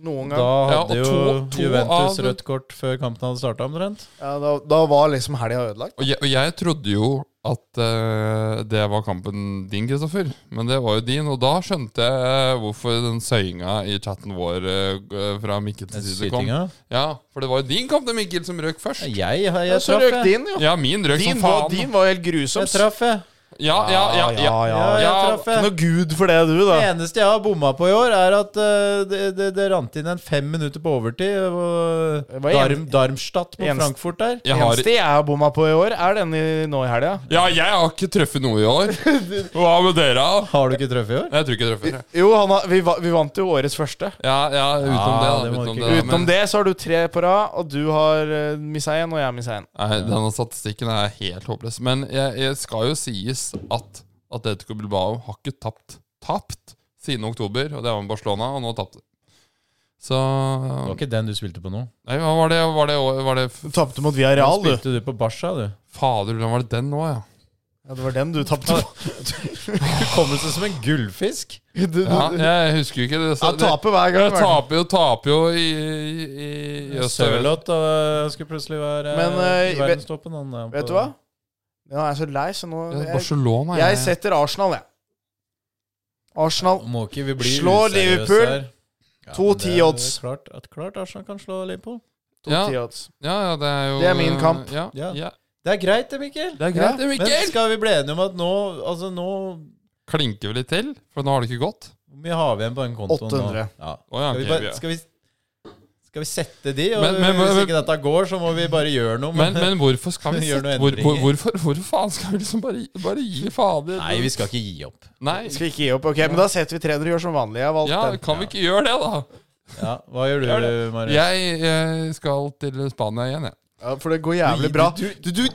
S3: Noen
S1: Da
S3: gang.
S2: Ja,
S1: hadde
S2: og
S1: jo
S2: to- to
S1: Juventus
S2: av-
S1: rødt kort før kampen hadde starta, omtrent.
S3: Ja, da, da var liksom helga ødelagt.
S2: Og jeg, og jeg trodde jo at eh, det var kampen din, Kristoffer. Men det var jo din, og da skjønte jeg hvorfor den søyinga i chatten vår eh, fra Mikkel
S1: Den
S2: til side kom.
S1: skytinga.
S2: Ja, For det var jo din kamp, det, Mikkel, som røk først.
S1: Jeg, jeg, jeg,
S3: Ja, så
S1: traff,
S3: røk
S1: jeg.
S3: din, jo.
S2: Ja, min røk
S3: Din
S2: som
S3: var,
S2: faen.
S3: din var helt grusom.
S1: Jeg traff, jeg.
S2: Ja, ja, ja, ja,
S3: Ja,
S1: Ja,
S3: ja,
S1: jeg
S2: Ja,
S1: traff,
S3: Ikke
S1: jeg.
S3: noe gud for det, du,
S1: Det
S3: da.
S1: eneste jeg har bomma på i år, er at eh, det, det, det rant inn en fem minutter på overtid. og
S3: Det var
S1: Darm,
S3: en-
S1: Darmstadt på
S3: eneste-
S1: Frankfurt der.
S3: Det
S2: Jeg har,
S3: eneste jeg har bomma på i år, er den i, nå i helga.
S2: ja, jeg har ikke truffet noe i år. Hva med dere? da?
S1: Har du ikke truffet i år?
S2: Jeg tror ikke jeg treffer.
S3: Jo, han har, vi, va- vi vant jo årets første.
S2: Ja, ja, utenom
S1: Ja,
S2: det, da.
S1: det må
S2: Utenom
S1: ikke-
S2: det, da,
S3: Utenom
S2: men-
S3: det så har du tre på rad, og du har uh, missa én, og jeg har missa én.
S2: Nei, Denne statistikken er helt håpløs. Men jeg, jeg skal jo sies at Atletico Bilbao har ikke tapt tapt siden oktober. Og det var med Barcelona, og nå tapte de. Så
S1: Det var
S2: Nei,
S1: ikke den du spilte på nå.
S2: hva var det, var det, år- var det
S3: Du tapte mot Viareal, du.
S1: Spilte du på Barca, du?
S2: Fader, hvordan var det den nå, ja?
S3: Ja, det var den du tapte på.
S1: Du kommer sånn som en gullfisk.
S3: Du, du,
S2: ja?
S3: du,
S2: Jeg husker jo ikke det.
S3: ja,
S2: så- det-
S3: taper hver gang.
S2: jeg
S3: vel.
S2: taper jo, taper jo i, i, i øst og vest.
S1: Sørloth øh, skulle plutselig være øh,
S3: Men, øh,
S1: i verdenstoppen. Han, er
S3: Vet
S1: på-
S3: du hva? Nå er jeg så lei, så nå
S2: Ja,
S3: Jeg,
S2: Barcelona,
S3: jeg setter Arsenal, jeg. Arsenal.
S1: Må ikke vi bli
S3: Slå
S1: useriøse
S3: Liverpool.
S1: her. Ja,
S3: 2-10
S1: men det er jo
S3: odds.
S1: Klart, at klart Arsenal kan slå Liverpool.
S2: Ja.
S3: 2-10 odds.
S2: ja, ja, det er jo
S3: Det er min kamp.
S2: Ja,
S1: Ja.
S2: ja.
S1: Det er greit, det, Mikkel.
S2: Det er greit, det,
S1: Men
S2: Mikkel.
S1: skal vi bli enige om at nå Altså nå
S2: Klinker vi litt til, for nå har det ikke gått.
S1: Hvor mye har vi igjen på den kontoen?
S3: 800.
S1: Nå? Ja.
S2: Å, ja,
S1: Skal, vi
S2: ok, vi
S1: bare,
S2: er-
S1: skal, vi, skal vi sette de? Og
S2: Men- men-
S1: hvis
S2: men-
S1: ikke dette går, så må vi bare gjøre noe.
S2: Men, men hvorfor skal vi
S1: Gjør
S2: sette
S1: noen
S2: hvor, hvor,
S1: endringer.
S2: hvorfor, hvorfor faen skal vi liksom bare, gi- bare gi fader?
S1: Nei, vi skal ikke gi opp.
S2: Nei.
S3: Skal vi ikke gi opp? Ok, men da setter vi 300 gjør som vanlig. Jeg har valgt
S2: Ja,
S3: den.
S2: kan vi ikke gjøre det, da?
S1: Ja, Hva gjør
S2: Gjør
S1: du, Marius?
S2: Jeg, eh, skal til Spania igjen, jeg.
S3: Ja, For det går jævlig bra. Du, du,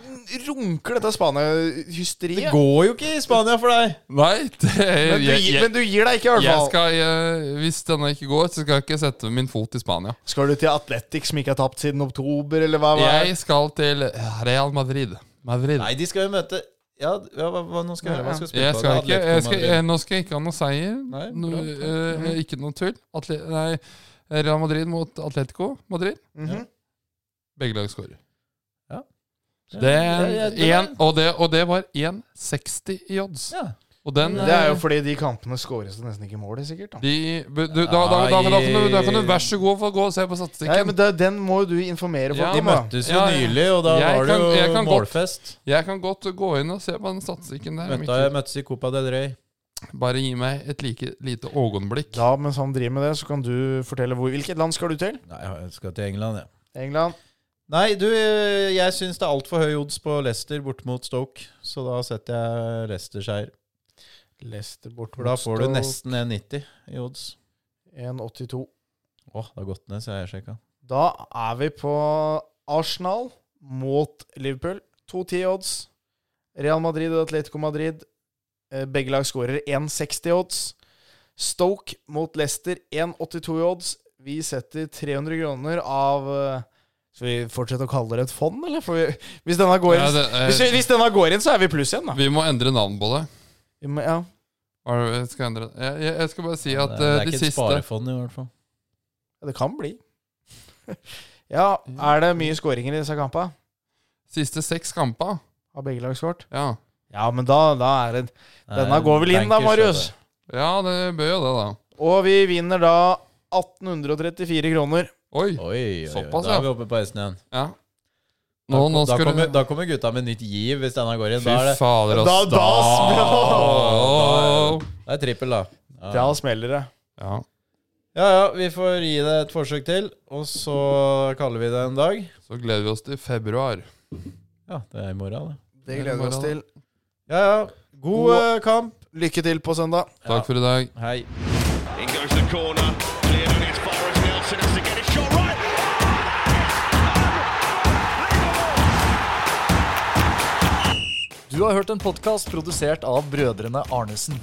S3: runker dette Spania-hysteriet.
S1: Det går jo ikke i Spania for deg!
S2: Nei, det
S3: Men, du
S2: jeg,
S3: gir-
S2: jeg,
S3: men du gir deg ikke, i
S2: jeg
S3: hvert fall.
S2: skal eh, Hvis denne ikke går, så skal jeg ikke sette min fot i Spania.
S3: Skal du til Atletic, som ikke har tapt siden oktober, eller hva? hva?
S2: Jeg skal til Real Madrid. Madrid.
S1: Nei, de skal jo møte Ja, ja hva, hva, nå skal jeg høre. Hva skal vi spille
S2: Jeg
S1: på?
S2: skal ikke,
S1: Atletico
S2: jeg skal,
S1: Madrid.
S2: jeg, nå skal jeg ikke ha noe seier.
S1: Nei,
S2: no,
S1: bra. Mhm.
S2: eh, ikke noe tull. Atle, nei, Real Madrid mot Atletico Madrid.
S3: Mhm.
S2: Begge lag skårer.
S1: Ja. Ja,
S2: Det,
S1: ja, det var-
S2: en, og, det, og det var 1,60 i odds.
S1: Ja.
S2: Og den
S3: Det er jo fordi de kampene skåres det nesten ikke mål i, sikkert. Da.
S2: de, bu- du, da, da, da, da, kan du, da kan du vær så god få gå og se på
S3: Nei,
S2: statistikken.
S3: men det, Den må jo du informere folk
S2: Ja,
S1: De
S3: om. da.
S1: møttes jo
S2: Ja, ja.
S1: nylig, og da
S2: Jeg
S1: var
S2: kan-
S1: det
S2: jeg
S1: jo
S2: kan godt-
S1: målfest.
S2: Jeg kan godt gå inn og se på den statistikken der.
S1: Møtta,
S2: Mikkel.
S1: møttes i Copa del Rey.
S2: Bare gi meg et like, lite øyeblikk.
S3: Da, Mens han driver med det, så kan du fortelle hvor Hvilket land skal du til?
S1: Nei, jeg skal til England, jeg. Ja.
S3: England.
S1: Nei, du, jeg syns det er altfor høy odds på Leicester borte mot Stoke, så da setter jeg Leicester-seier.
S3: Leicester bort
S1: For da får du nesten 1,90 i odds.
S3: 1,82.
S1: Åh, det har gått ned, så jeg sjekka.
S3: Da er vi på Arsenal mot Liverpool. 2-10 odds. Real Madrid og Atletico Madrid. Eh, Begge lag skårer 1,60 odds. Stoke mot Leicester 1,82 i odds. Vi setter 300 kroner av eh, Skal vi fortsette å kalle det et fond, eller? For vi, hvis, denne går inn,
S2: Ja, det, eh,
S3: hvis, vi, hvis denne går inn, så er vi i pluss igjen, da.
S2: vi må endre navn på det.
S3: Vi må- Ja.
S2: Har du- Jeg skal, endre. Jeg, jeg, jeg skal bare si
S1: Det
S2: at
S1: er, det
S2: eh,
S1: er
S2: de
S1: ikke et
S2: siste
S1: sparefond, i hvert fall.
S3: Ja, Det kan bli. ja, er det mye skåringer i disse kampene?
S2: Siste seks kampa
S3: Har begge lag skåret?
S2: Ja,
S3: Ja, men da, da er det Denne
S1: Nei,
S3: går vel inn da,
S1: bankers,
S3: Marius.
S1: dette.
S2: ja det bør jo det, da.
S3: Og vi vinner da 1834 kroner.
S2: Oi!
S1: Oi, oi, oi.
S2: Såpass,
S1: da
S2: ja.
S1: er vi oppe på hesten igjen.
S2: Ja.
S1: Da,
S2: Nå, nå
S1: da,
S2: skal
S1: kommer,
S2: du
S1: da kommer gutta med nytt giv hvis denne går inn.
S2: Fy
S1: Da er det,
S2: fader, ass.
S3: Da- da
S1: sm-
S2: Da-
S1: det er trippel, da. Ja.
S3: Da smeller det.
S2: Ja.
S1: Ja, ja, vi får gi det et forsøk til, og så kaller vi det en dag.
S2: Så gleder vi oss til februar.
S1: Ja, det er i morgen, det.
S3: Det gleder vi oss til.
S1: Ja, ja. God,
S3: God-
S1: eh, kamp.
S3: Lykke til på søndag.
S1: Ja.
S2: Takk for i dag.
S1: Hei.
S4: In goes the corner. Cleared and it's far
S6: Du har hørt en podkast produsert av brødrene Arnesen.